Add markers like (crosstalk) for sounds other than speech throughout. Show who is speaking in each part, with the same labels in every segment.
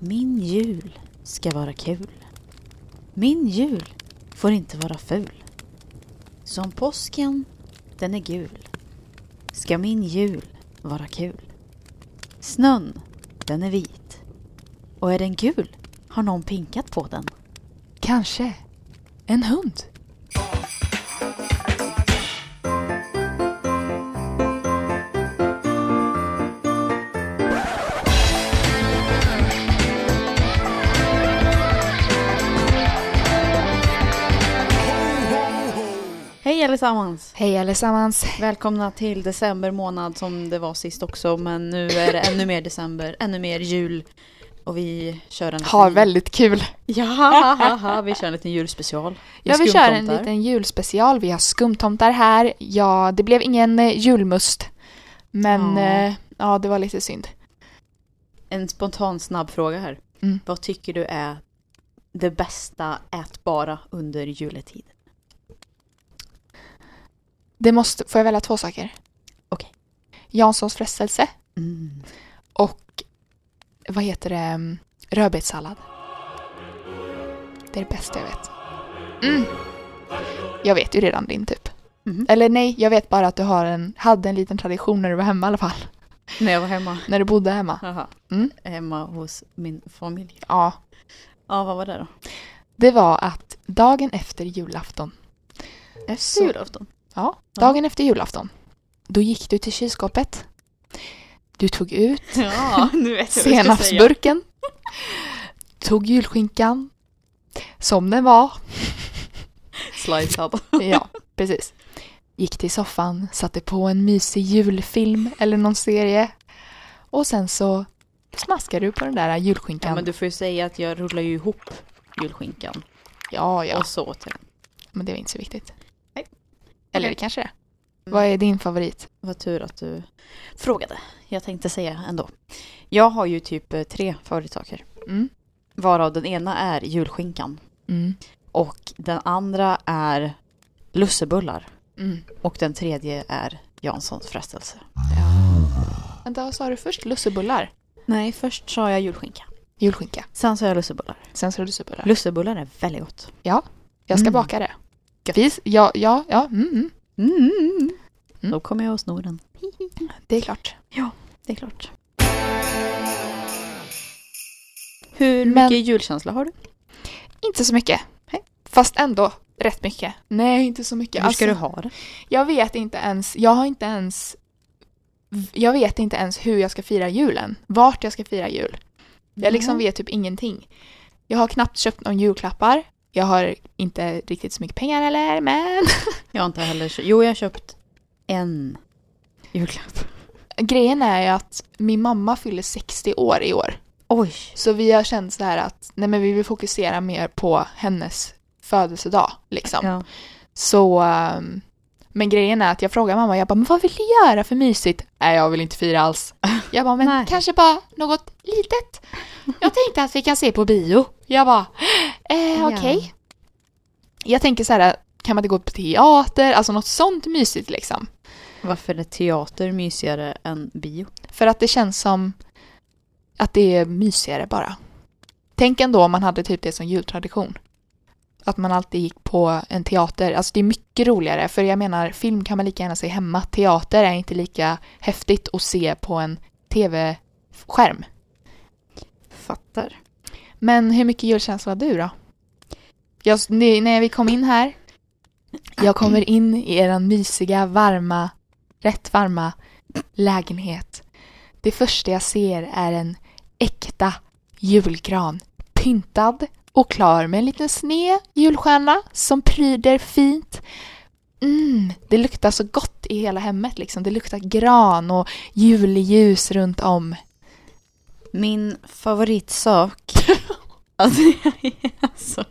Speaker 1: Min jul ska vara kul. Min jul får inte vara ful. Som påsken, den är gul, ska min jul vara kul. Snön, den är vit. Och är den gul har någon pinkat på den.
Speaker 2: Kanske. En hund.
Speaker 1: Hej allesammans!
Speaker 2: Hej allesammans.
Speaker 1: Välkomna till december månad som det var sist också men nu är det ännu mer december, ännu mer jul. Och vi kör en...
Speaker 2: Ha väldigt kul.
Speaker 1: Ja, ha, ha, ha. vi kör en liten julspecial.
Speaker 2: Ja, vi kör en
Speaker 1: skumtomtar.
Speaker 2: liten julspecial. Vi har skumtomtar här. Ja, det blev ingen eh, julmust. Men
Speaker 1: Ja.
Speaker 2: ja, ja det var lite synd.
Speaker 1: En spontan snabb fråga här.
Speaker 2: Mm.
Speaker 1: Vad tycker du är det bästa ätbara under juletid?
Speaker 2: Det måste, får jag välja två saker?
Speaker 1: Okej.
Speaker 2: Janssons frestelse Mm. och vad heter det? mm, Rödbetssallad. Det är det bästa jag vet. Mm. Jag vet ju redan din typ.
Speaker 1: Mhm.
Speaker 2: Eller nej, jag vet bara att du har en, hade en liten tradition när du var hemma i alla fall.
Speaker 1: När jag var hemma.
Speaker 2: När du bodde hemma.
Speaker 1: Haha.
Speaker 2: Mm.
Speaker 1: Hemma hos min familj.
Speaker 2: Ja,
Speaker 1: Ja, vad var det då?
Speaker 2: det var att dagen efter julafton,
Speaker 1: Efter
Speaker 2: Så-
Speaker 1: julafton.
Speaker 2: ja,
Speaker 1: Ja.
Speaker 2: dagen efter julafton, då gick du till kylskåpet. Du tog ut (laughs)
Speaker 1: Ja, nu vet jag (laughs) vad jag ska säga.
Speaker 2: senapsburken, tog julskinkan, som
Speaker 1: (laughs)
Speaker 2: den var.
Speaker 1: Slicead.
Speaker 2: Ja, precis. Gick till soffan, satte på en mysig julfilm eller någon serie. Och sen så smaskade du på den där julskinkan.
Speaker 1: Ja, men du får ju säga att jag rullar ju ihop julskinkan
Speaker 2: ja, ja,
Speaker 1: och så åt jag den.
Speaker 2: men det var inte så viktigt.
Speaker 1: Nej. Okej.
Speaker 2: Eller
Speaker 1: Mm.
Speaker 2: det kanske det är. Vad är din favorit?
Speaker 1: Vad tur att du frågade. Jag tänkte säga ändå. Jag har ju typ eh, tre favoritssaker.
Speaker 2: Mm.
Speaker 1: Varav den ena är julskinkan.
Speaker 2: Mm.
Speaker 1: Och den andra är lussebullar.
Speaker 2: Mm.
Speaker 1: Och den tredje är Janssons frestelse.
Speaker 2: Vänta, vad sa du först? Lussebullar?
Speaker 1: Nej, först sa jag julskinka.
Speaker 2: Julskinka.
Speaker 1: Sen sa jag lussebullar.
Speaker 2: Sen så lussebullar.
Speaker 1: Lussebullar är väldigt gott.
Speaker 2: Jag ska
Speaker 1: Mm.
Speaker 2: baka det. Fis? Ja, ja, ja. Mm, mm.
Speaker 1: Mm, mm, mm.
Speaker 2: Mm.
Speaker 1: Då kommer jag och snor (laughs) den.
Speaker 2: Det är klart.
Speaker 1: Det är klart. Hur
Speaker 2: Men-
Speaker 1: mycket julkänsla har du?
Speaker 2: Inte så mycket. Fast ändå rätt mycket. Nej, inte så mycket.
Speaker 1: Hur ska
Speaker 2: Alltså-
Speaker 1: du ha det?
Speaker 2: Jag vet inte ens, jag har inte ens jag vet inte ens hur jag ska fira julen. Vart jag ska fira jul. Jag
Speaker 1: Mm.
Speaker 2: liksom vet typ ingenting. Jag har knappt köpt någon julklappar. Jag har inte riktigt så mycket pengar heller, men... (laughs)
Speaker 1: Jag har inte heller kö- Jo, jag har köpt en julklapp.
Speaker 2: Grejen är ju att min mamma fyller 60 år i år.
Speaker 1: (laughs) Oj!
Speaker 2: Så vi har känt så här att nej men vi vill fokusera mer på hennes födelsedag. Liksom.
Speaker 1: Ja.
Speaker 2: Så, ehm, men grejen är att jag frågar mamma, jag bara, men vad vill du göra för mysigt? Nej, jag vill inte fira
Speaker 1: (laughs)
Speaker 2: alls. Jag bara, men
Speaker 1: Nej.
Speaker 2: kanske bara något litet. Jag tänkte att vi kan se på bio. Jag bara, eh,
Speaker 1: Ja.
Speaker 2: okej. Jag tänker så här, kan man inte gå på teater? Alltså något sånt mysigt liksom.
Speaker 1: Varför är teater mysigare än bio?
Speaker 2: För att det känns som att det är mysigare bara. Tänk ändå om man hade typ det som jultradition. Att man alltid gick på en teater. Alltså det är mycket roligare. För jag menar, film kan man lika gärna se hemma. Teater är inte lika häftigt att se på en tv-skärm.
Speaker 1: Fattar.
Speaker 2: Men hur mycket julkänsla har du då? Jag, nu, när vi kom in här. Jag kommer in i eran mysiga, varma, rätt varma lägenhet. Det första jag ser är en äkta julgran. Pyntad och klar med en liten sned julstjärna som pryder fint. Mm, det luktar så gott i hela hemmet liksom. Det luktar gran och julljus runt om.
Speaker 1: Min
Speaker 2: (laughs)
Speaker 1: favoritsak... alltså, (laughs) alltså.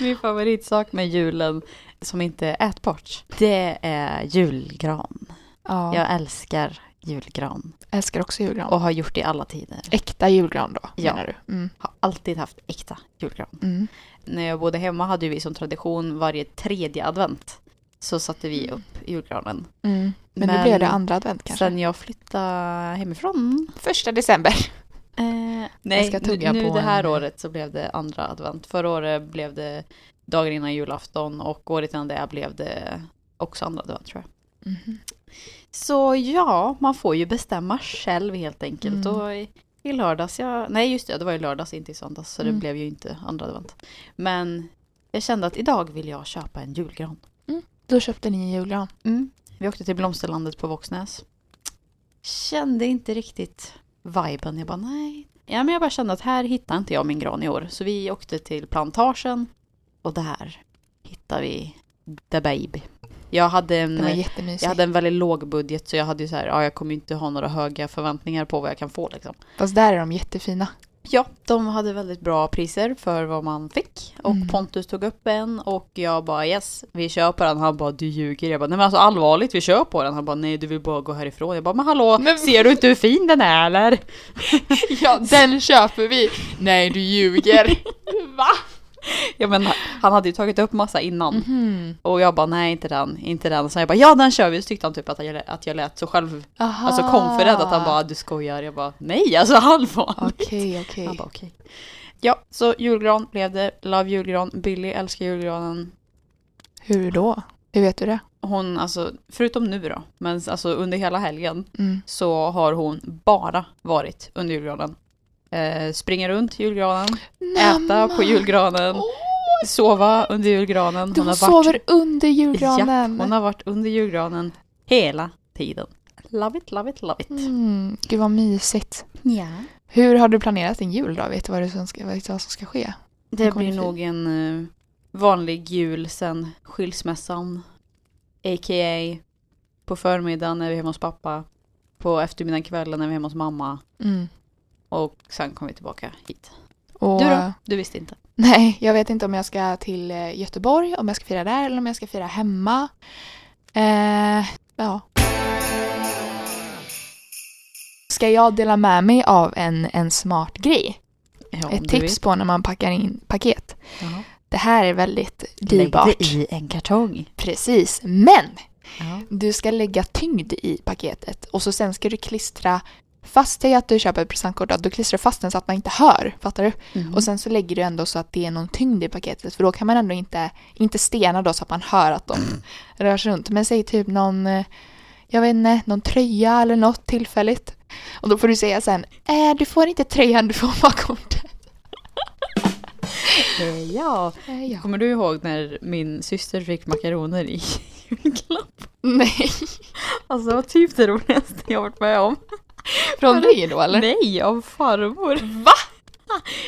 Speaker 1: Min favoritsak med julen som inte är ätbart, det är julgran.
Speaker 2: Ja.
Speaker 1: Jag älskar julgran.
Speaker 2: Älskar också julgran.
Speaker 1: Och har gjort det i alla tider.
Speaker 2: Äkta julgran då,
Speaker 1: Ja.
Speaker 2: menar du? Mm.
Speaker 1: Har alltid haft äkta julgran.
Speaker 2: Mm.
Speaker 1: När jag bodde hemma hade vi som tradition varje tredje advent så satte vi upp julgranen.
Speaker 2: Mm. Men, nu blir det andra advent kanske.
Speaker 1: Sen jag flyttade hemifrån.
Speaker 2: Första december.
Speaker 1: Eh,
Speaker 2: Jag
Speaker 1: nej,
Speaker 2: ska
Speaker 1: nu,
Speaker 2: tugga
Speaker 1: nu
Speaker 2: på
Speaker 1: det här
Speaker 2: en-
Speaker 1: året så blev det andra advent. Förra året blev det dagen innan julafton och året innan det blev det också andra advent tror jag.
Speaker 2: Mhm.
Speaker 1: Så ja, man får ju bestämma själv helt enkelt.
Speaker 2: Mm.
Speaker 1: Och i, i lördags, jag, nej just det, det var i lördags, inte i söndags. Så det
Speaker 2: Mm.
Speaker 1: blev ju inte andra advent. Men jag kände att idag vill jag köpa en julgran.
Speaker 2: Då köpte ni en julgran.
Speaker 1: Mm. Vi åkte till Blomsterlandet på Våxnäs. Kände inte riktigt viben. Jag bara nej. Ja, men jag bara kände att här hittar inte jag min gran i år. Så vi åkte till plantagen och där hittade vi the baby. Jag hade en...
Speaker 2: Den var jättemysig.
Speaker 1: Jag hade en väldigt låg budget så jag hade ju så här, ja jag kommer ju inte ha några höga förväntningar på vad jag kan få liksom.
Speaker 2: Fast där är de jättefina.
Speaker 1: (laughs) Ja, de hade väldigt bra priser för vad man fick och
Speaker 2: Mm.
Speaker 1: Pontus tog upp en och jag bara yes, vi kör på den. Han bara du ljuger. Jag bara nej men alltså allvarligt vi kör på den. Han bara nej du vill bara gå härifrån. Jag bara men hallå,
Speaker 2: Men-
Speaker 1: ser du inte hur fin den är eller?
Speaker 2: Ja, den köper vi. Nej, du (laughs) ljuger. Va?
Speaker 1: Ja men han hade ju tagit upp massa innan
Speaker 2: Mm. Mhm.
Speaker 1: och jag bara nej inte den, inte den. Så jag bara ja den kör vi. Så tyckte han typ att jag, lä- att jag lät så själv,
Speaker 2: Aha.
Speaker 1: alltså confident att han bara du skojar. Jag bara nej alltså allvarligt.
Speaker 2: Okej, okej.
Speaker 1: Han bara okej. Ja, så julgran blev det. Love julgran. Billy älskar julgranen.
Speaker 2: Hur då? Hur vet du det?
Speaker 1: Hon, alltså, förutom nu då, men alltså under hela helgen
Speaker 2: Mm.
Speaker 1: så har hon bara varit under julgranen. Eh, springa runt julgranen, äta på julgranen,
Speaker 2: Åh,
Speaker 1: sova under julgranen.
Speaker 2: de
Speaker 1: har varit-
Speaker 2: sover under julgranen.
Speaker 1: Japp, hon har varit under julgranen hela tiden. Love it, love it, love it.
Speaker 2: mm, gud vad mysigt.
Speaker 1: Ja.
Speaker 2: Hur har du planerat din jul då? Vet du vad, det som ska, vad det som ska ske?
Speaker 1: Det
Speaker 2: Hon kommer
Speaker 1: blir
Speaker 2: fin.
Speaker 1: nog en eh, vanlig jul sen skilsmässan. A.k.a. på förmiddagen är vi hemma hos pappa. På eftermiddagen kvällen är vi hemma hos mamma.
Speaker 2: Mm.
Speaker 1: Och sen kommer vi tillbaka hit.
Speaker 2: Och,
Speaker 1: Du då? Du visste inte.
Speaker 2: Nej, jag vet inte om jag ska till eh, Göteborg, om jag ska fira där eller om jag ska fira hemma. Eh, ja. Ska jag dela med mig av en, en smart grej?
Speaker 1: Ja, om
Speaker 2: Ett
Speaker 1: du
Speaker 2: tips på när man packar in paket.
Speaker 1: vill. Jaha.
Speaker 2: Det här är väldigt
Speaker 1: Lägg
Speaker 2: dyrbart.
Speaker 1: det i en kartong.
Speaker 2: Precis, men
Speaker 1: Ja.
Speaker 2: du ska lägga tyngd i paketet och så sen ska du klistra fast dig att du köper ett presentkort, att du klistrar fast den så att man inte hör. Fattar du?
Speaker 1: Mm.
Speaker 2: Och sen så lägger du ändå så att det är någon tyngd i paketet för då kan man ändå inte, inte stena då så att man hör att de
Speaker 1: (clears throat)
Speaker 2: rör sig runt. Men säg typ någon, eh, jag vet inte, någon tröja eller något tillfälligt. Och då får du säga sen, äh, du får inte tröjan, du får bara kortet.
Speaker 1: Eh, ja.
Speaker 2: Äh, ja.
Speaker 1: Kommer du ihåg när min syster fick makaroner i (laughs) julklapp?
Speaker 2: Nej,
Speaker 1: Alltså det var typ det roligaste jag varit med om.
Speaker 2: (laughs) från dig då eller?
Speaker 1: Nej, av farmor.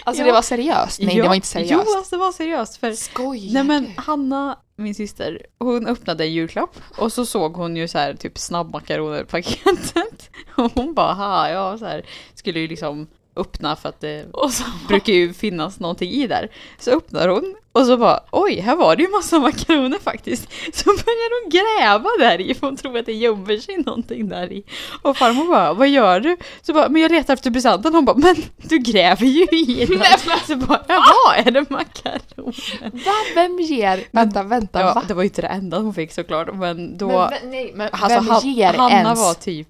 Speaker 2: Alltså
Speaker 1: Ja.
Speaker 2: det var seriöst? Nej,
Speaker 1: Ja.
Speaker 2: det var inte
Speaker 1: Jo,
Speaker 2: seriöst.
Speaker 1: alltså, det var seriöst. För
Speaker 2: Skojar
Speaker 1: Nej men
Speaker 2: du?
Speaker 1: Hanna, min syster, hon öppnade en julklapp och så såg hon ju så här typ snabbmakaroner i paketet. (laughs) Och hon bara ha, ja så här skulle ju liksom öppna för att det
Speaker 2: Och så
Speaker 1: brukar ju finnas någonting i där. Så öppnar hon och så bara oj, här var det ju massa makaroner faktiskt. (laughs) Så börjar hon gräva där i för hon tror att det gömmer sig någonting där i. Och farmor bara vad gör du? Så bara men jag letar efter presenten. Hon bara men du gräver ju i den.
Speaker 2: (laughs) Nej,
Speaker 1: Så bara ja, vad är det makaroner?
Speaker 2: Va? Vem ger? Vänta, vänta,
Speaker 1: Ja,
Speaker 2: va?
Speaker 1: det var ju inte det enda hon fick såklart, men då...
Speaker 2: Men vem- nej, men
Speaker 1: alltså,
Speaker 2: vem
Speaker 1: Han-
Speaker 2: ger
Speaker 1: Hanna
Speaker 2: ens?
Speaker 1: var typ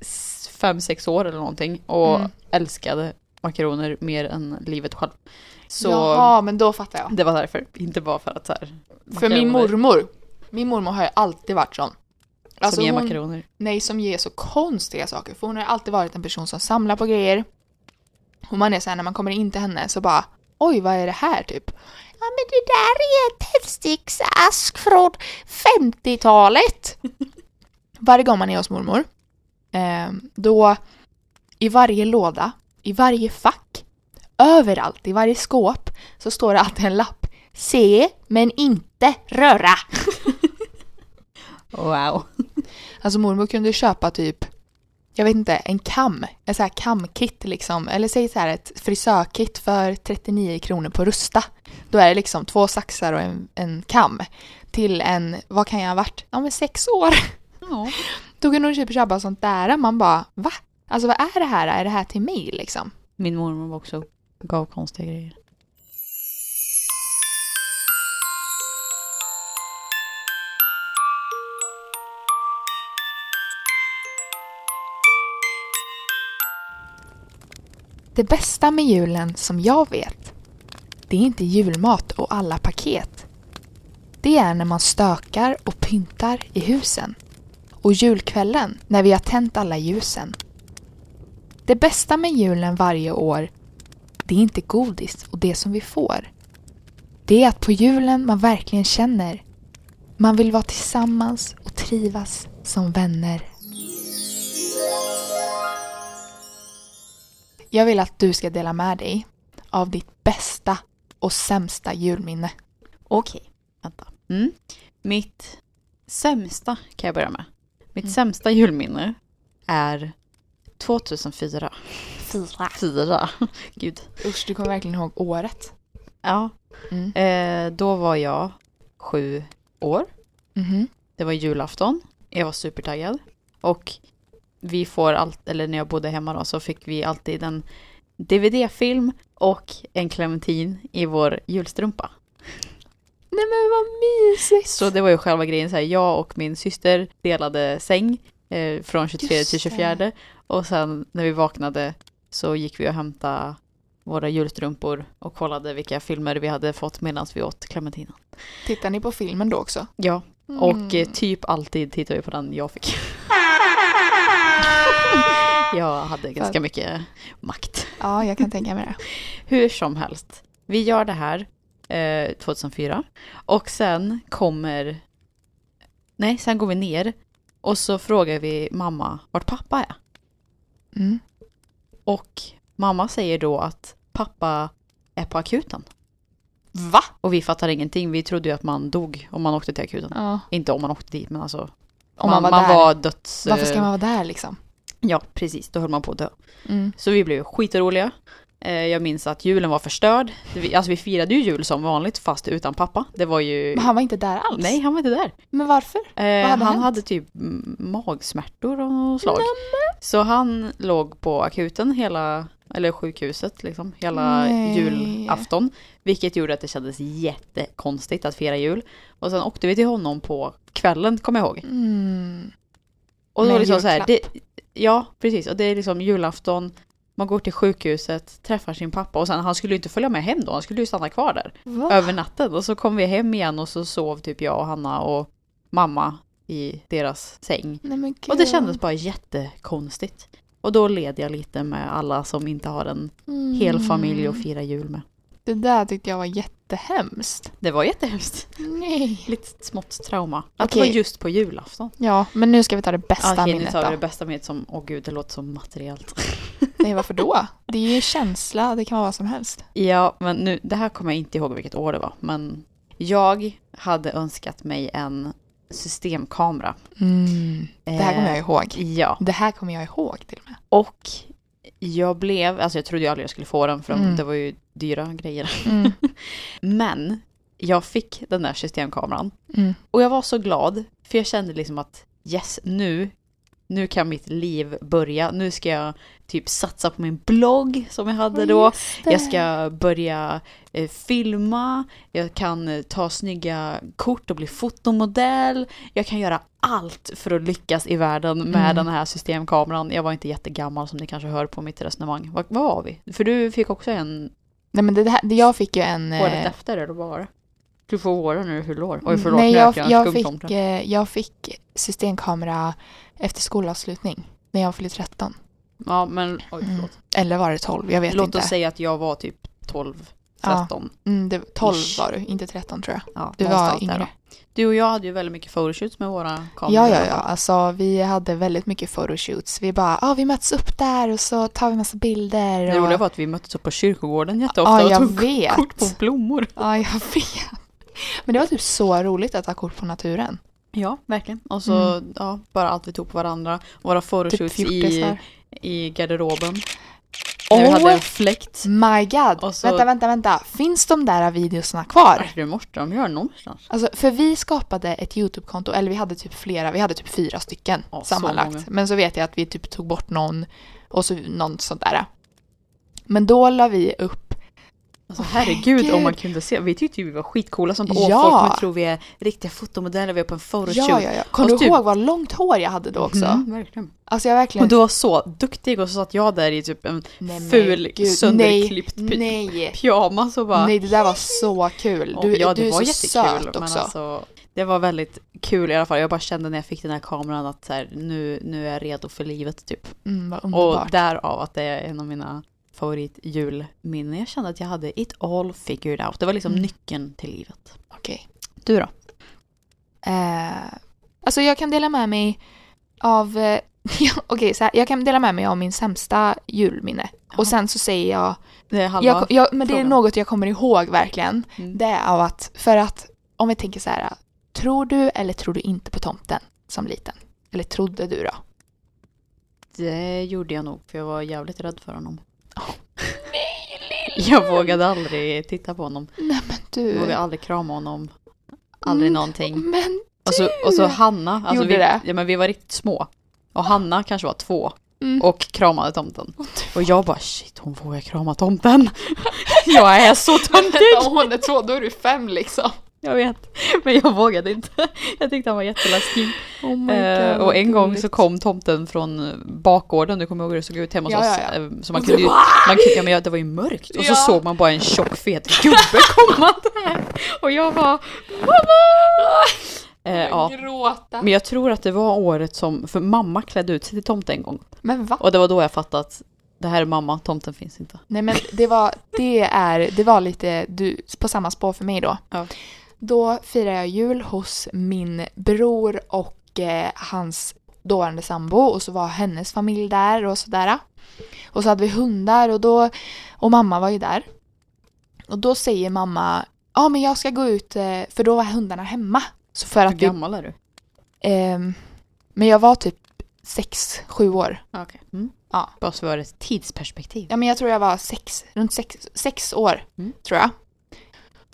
Speaker 1: s- fem sex år eller någonting och
Speaker 2: Mm.
Speaker 1: älskade makaroner mer än livet själv. Så
Speaker 2: Jaha, men då fattar jag.
Speaker 1: det var därför, inte bara för att så här,
Speaker 2: För
Speaker 1: makaroner
Speaker 2: min mormor, min mormor har ju alltid varit sån. Alltså
Speaker 1: som ger
Speaker 2: hon,
Speaker 1: makaroner.
Speaker 2: Nej, som ger så konstiga saker. För hon har ju alltid varit en person som samlar på grejer. Och man är såhär, när man kommer in till henne så bara Oj, vad är det här typ? Ja, men det där är en tändsticksask från 50-talet. (laughs) Varje gång man är hos mormor, eh, då i varje låda, i varje fack, överallt, i varje skåp så står det alltid en lapp. Se, men inte röra.
Speaker 1: Wow.
Speaker 2: Alltså mormor kunde köpa typ, jag vet inte, en kam. En sån här kamkit liksom. Eller säg så här ett frisörkit för 39 kronor på Rusta. Då är det liksom två saxar och en, en kam. Till en, vad kan jag ha varit? Ja men sex år. (laughs)
Speaker 1: Ja.
Speaker 2: Då kan de typ tjabba sånt där. Man bara va? Alltså vad är det här? Är det här till mig liksom?
Speaker 1: Min mormor var också gav konstiga grejer.
Speaker 2: Det bästa med julen som jag vet, det är inte julmat och alla paket. Det är när man stökar och pyntar i husen. Och julkvällen när vi har tänt alla ljusen. Det bästa med julen varje år, det är inte godis och det som vi får. Det är att på julen man verkligen känner. Man vill vara tillsammans och trivas som vänner. Jag vill att du ska dela med dig av ditt bästa och sämsta julminne.
Speaker 1: Okej, vänta. Mm. Mitt sämsta kan jag börja med. Mitt
Speaker 2: Mm.
Speaker 1: sämsta julminne är 2004.
Speaker 2: Fyra.
Speaker 1: Fyra. (laughs) Gud.
Speaker 2: Usch, du kommer verkligen ihåg året.
Speaker 1: Ja,
Speaker 2: Mm.
Speaker 1: eh, då var jag sju år.
Speaker 2: mhm.
Speaker 1: Det var julafton. Jag var supertaggad. Och vi får allt, eller när jag bodde hemma då så fick vi alltid en DVD-film och en clementin i vår julstrumpa.
Speaker 2: Nej men vad mysigt!
Speaker 1: Så det var ju själva grejen, så här, jag och min syster delade säng eh, från 23
Speaker 2: Just
Speaker 1: till
Speaker 2: det.
Speaker 1: 24 och sen när vi vaknade så gick vi och hämtade våra julstrumpor och kollade vilka filmer vi hade fått medan vi åt clementinen.
Speaker 2: Tittar ni på filmen då också?
Speaker 1: Ja,
Speaker 2: Mm.
Speaker 1: och eh,
Speaker 2: (laughs)
Speaker 1: typ alltid tittar vi på den jag fick. Jag hade ganska mycket makt.
Speaker 2: Ja, jag kan tänka mig det.
Speaker 1: Hur som helst, vi gör det här eh, 2004 och sen kommer... Nej, sen går vi ner och så frågar vi mamma vart pappa är.
Speaker 2: Mm.
Speaker 1: Och mamma säger då att pappa är på akuten.
Speaker 2: Va?
Speaker 1: Och vi fattar ingenting, vi trodde ju att man dog om man åkte till akuten.
Speaker 2: Ja. Om
Speaker 1: Inte om man åkte dit, men alltså...
Speaker 2: man, var
Speaker 1: man
Speaker 2: där.
Speaker 1: var döds...
Speaker 2: Varför ska
Speaker 1: eh,
Speaker 2: man vara där liksom?
Speaker 1: Ja, precis, då höll man på att dö.
Speaker 2: Mm.
Speaker 1: Så vi blev skitroliga. Eh, Jag minns att julen var förstörd. Vi- Alltså vi firade ju jul som vanligt fast utan pappa. Det var ju...
Speaker 2: Men han var inte där alls?
Speaker 1: Nej, han var inte där.
Speaker 2: Men varför?
Speaker 1: Eh,
Speaker 2: Vad hade
Speaker 1: han
Speaker 2: hänt?
Speaker 1: hade typ mm, magsmärtor av något slag. Så han låg på akuten hela, eller sjukhuset liksom, hela
Speaker 2: Nej.
Speaker 1: julafton. Vilket gjorde att det kändes jättekonstigt att fira jul. Och sen åkte vi till honom på kvällen, kommer jag ihåg.
Speaker 2: Mm.
Speaker 1: Och då
Speaker 2: Med
Speaker 1: var det liksom så här, det,
Speaker 2: julklapp.
Speaker 1: ja precis, och det är liksom julafton, man går till sjukhuset, träffar sin pappa och sen han skulle ju inte följa med hem då, han skulle ju stanna kvar där
Speaker 2: Va?
Speaker 1: över natten. Och så kom vi hem igen och så sov typ jag och Hanna och mamma i deras säng.
Speaker 2: Nej, men gud.
Speaker 1: Och det kändes bara jättekonstigt. Och då led jag lite med alla som inte har en
Speaker 2: mm.
Speaker 1: hel familj att fira jul med.
Speaker 2: Det där tyckte jag var jättehemskt.
Speaker 1: Det var jättehemskt.
Speaker 2: Nej.
Speaker 1: Lite smått trauma. Att det
Speaker 2: Okej.
Speaker 1: var just på julafton.
Speaker 2: Ja, men nu ska vi ta det bästa
Speaker 1: Okej, nu
Speaker 2: minnet
Speaker 1: tar vi
Speaker 2: då.
Speaker 1: det bästa med som, åh gud, det låter som materiellt.
Speaker 2: Nej, varför då? Det är ju en känsla, det kan vara vad som helst.
Speaker 1: Ja, men nu, det här kommer jag inte ihåg vilket år det var, men jag hade önskat mig en systemkamera. Mm.
Speaker 2: Det här
Speaker 1: Eh.
Speaker 2: kommer jag ihåg.
Speaker 1: Ja,
Speaker 2: Det här kommer jag ihåg till och med.
Speaker 1: och jag blev, alltså jag trodde ju aldrig jag skulle få den för de-
Speaker 2: Mm.
Speaker 1: det var ju dyra grejer. Men jag fick den där systemkameran
Speaker 2: (laughs) Mm.
Speaker 1: och jag var så glad för jag kände liksom att yes, nu, nu kan mitt liv börja. Nu ska jag typ satsa på min blogg som jag hade då. Jag ska börja eh, filma, jag kan eh, ta snygga kort och bli fotomodell. Jag kan göra allt för att lyckas i världen med
Speaker 2: Mm.
Speaker 1: den här systemkameran. Jag var inte jättegammal som ni kanske hör på mitt resonemang. Vad, vad var vi? För du fick också en
Speaker 2: Nej men det här, det, jag fick ju en... eh,
Speaker 1: året efter eller vad var det? Du får våren nu, hur lår? Oj förlåt,
Speaker 2: Mm. nej,
Speaker 1: nu
Speaker 2: jag,
Speaker 1: lät en
Speaker 2: jag,
Speaker 1: skum
Speaker 2: fick,
Speaker 1: tomte.
Speaker 2: eh, jag fick systemkamera efter skolavslutning. När jag fyllde 13.
Speaker 1: Ja men oj
Speaker 2: Mm.
Speaker 1: förlåt.
Speaker 2: Eller var det 12? Jag vet
Speaker 1: Låt
Speaker 2: inte.
Speaker 1: oss säga att jag var typ 12, 13.
Speaker 2: Mm, det, 12
Speaker 1: Ish.
Speaker 2: var du, inte 13 tror jag.
Speaker 1: Ja,
Speaker 2: Du var
Speaker 1: någonstans där
Speaker 2: yngre.
Speaker 1: då. Du och jag hade ju väldigt mycket photoshoots med våra kameror.
Speaker 2: Ja, ja, ja. Alltså, vi hade väldigt mycket photoshoots. Vi bara, ah, vi möts upp där och så tar vi massa bilder.
Speaker 1: Det
Speaker 2: och...
Speaker 1: roliga var att vi möttes upp på kyrkogården jätteofta
Speaker 2: Ja,
Speaker 1: och
Speaker 2: jag
Speaker 1: tog
Speaker 2: vet.
Speaker 1: kort på blommor.
Speaker 2: Ja, jag vet. Men det var typ så roligt att ta kort på naturen.
Speaker 1: Ja, verkligen. Och så ja, bara allt vi tog på varandra. Våra
Speaker 2: Typ
Speaker 1: photoshoots i,
Speaker 2: fjortisar.
Speaker 1: i garderoben. När vi hade
Speaker 2: Oh
Speaker 1: en fläkt.
Speaker 2: my god!
Speaker 1: Och så-
Speaker 2: Vänta, vänta, vänta. Finns de där videorna kvar?
Speaker 1: Du Alltså, måste de göra någonstans.
Speaker 2: Alltså, för vi skapade ett YouTube-konto, eller vi hade typ flera, vi hade typ fyra stycken
Speaker 1: Ja, så många.
Speaker 2: sammanlagt. Men så vet jag att vi typ tog bort någon och så någon sånt där. Men då la vi upp,
Speaker 1: Alltså herregud om man
Speaker 2: herregud.
Speaker 1: kunde se. Vi tyckte ju vi var skitcoola som på
Speaker 2: Ja.
Speaker 1: åh, folk kommer tro vi är riktiga fotomodeller, vi är på en photoshoot.
Speaker 2: ja, ja, ja. Kommer
Speaker 1: Och
Speaker 2: du
Speaker 1: typ-
Speaker 2: ihåg vad långt hår jag hade då också?
Speaker 1: Mm, verkligen.
Speaker 2: Alltså jag verkligen...
Speaker 1: Och du var så duktig och så satt jag där i typ en
Speaker 2: Nej, men
Speaker 1: ful
Speaker 2: gud,
Speaker 1: sönderklippt pi-
Speaker 2: Nej, nej,
Speaker 1: pyjamas och bara
Speaker 2: nej, det där var så kul.
Speaker 1: Och
Speaker 2: Du,
Speaker 1: ja, det
Speaker 2: du är
Speaker 1: var
Speaker 2: så
Speaker 1: jättekul.
Speaker 2: söt
Speaker 1: men
Speaker 2: också.
Speaker 1: Alltså, det var väldigt kul i alla fall. Jag bara kände när jag fick den här kameran att så här, nu, nu är jag redo för livet typ.
Speaker 2: Mm, vad
Speaker 1: Och
Speaker 2: underbart.
Speaker 1: därav att det är en av mina favoritjulminnen. Jag kände att jag hade it all figured out. Det var liksom
Speaker 2: Mm.
Speaker 1: nyckeln till livet.
Speaker 2: Okej.
Speaker 1: Du då?
Speaker 2: Eh, alltså jag kan dela med mig av... Eh, (laughs) ja, Okej, så här, jag kan dela med mig av min sämsta julminne.
Speaker 1: Ja.
Speaker 2: Och sen så säger jag...
Speaker 1: Det är halva...
Speaker 2: jag, jag men det är
Speaker 1: frågan.
Speaker 2: något jag kommer ihåg verkligen.
Speaker 1: Mm.
Speaker 2: Det är av att, för att om vi tänker så här, tror du eller tror du inte på tomten som liten? Eller trodde du då?
Speaker 1: Det gjorde jag nog för jag var jävligt rädd för honom.
Speaker 2: Nej,
Speaker 1: (laughs) Jag vågade aldrig titta på honom.
Speaker 2: Nej men du.
Speaker 1: Jag vågade aldrig krama honom. Aldrig
Speaker 2: Mm.
Speaker 1: någonting.
Speaker 2: Men
Speaker 1: Och så, och så Hanna. Alltså
Speaker 2: Gjorde
Speaker 1: vi,
Speaker 2: det?
Speaker 1: Ja, men vi var riktigt små. Och Hanna kanske var två
Speaker 2: Mm.
Speaker 1: och kramade tomten. Och jag bara shit, hon vågar krama tomten. (laughs) jag är så
Speaker 2: Vänta,
Speaker 1: töntig!
Speaker 2: (laughs)
Speaker 1: (laughs)
Speaker 2: om hon är två, då är du fem liksom.
Speaker 1: Jag vet. Men jag vågade inte. Jag tyckte han var jätteläskig.
Speaker 2: Oh
Speaker 1: Eh, och en gång så kom tomten från bakgården, du kommer ihåg hur det såg ut hemma hos
Speaker 2: Ja,
Speaker 1: oss.
Speaker 2: ja, ja.
Speaker 1: eh, Så man
Speaker 2: Man
Speaker 1: kunde ju, man kunde, ja, men ja, det var ju mörkt. Och så
Speaker 2: Ja.
Speaker 1: såg man bara en tjock fet gubbe komma där. Och jag bara mamma! Eh, ja.
Speaker 2: gråta.
Speaker 1: Men jag tror att det var året som, för mamma klädde ut sig till tomte en gång.
Speaker 2: Men va?
Speaker 1: Och det var då jag fattade att det här är mamma, tomten finns inte.
Speaker 2: Nej men det var, det är, det var lite du, på samma spår för mig då.
Speaker 1: Ja.
Speaker 2: Då firar jag jul hos min bror och eh, hans dåvarande sambo och så var hennes familj där och sådär. Och så hade vi hundar och då, och mamma var ju där. Och då säger mamma, ja men jag ska gå ut, eh," för då var hundarna hemma. Så för
Speaker 1: Hur
Speaker 2: att vi,
Speaker 1: gammal är du?
Speaker 2: ehm, men jag var typ sex, sju år.
Speaker 1: Okay. Mm.
Speaker 2: Ja.
Speaker 1: Bara så vi har ett tidsperspektiv.
Speaker 2: Ja men jag tror jag var sex, runt sex, sex år
Speaker 1: Mm.
Speaker 2: tror jag.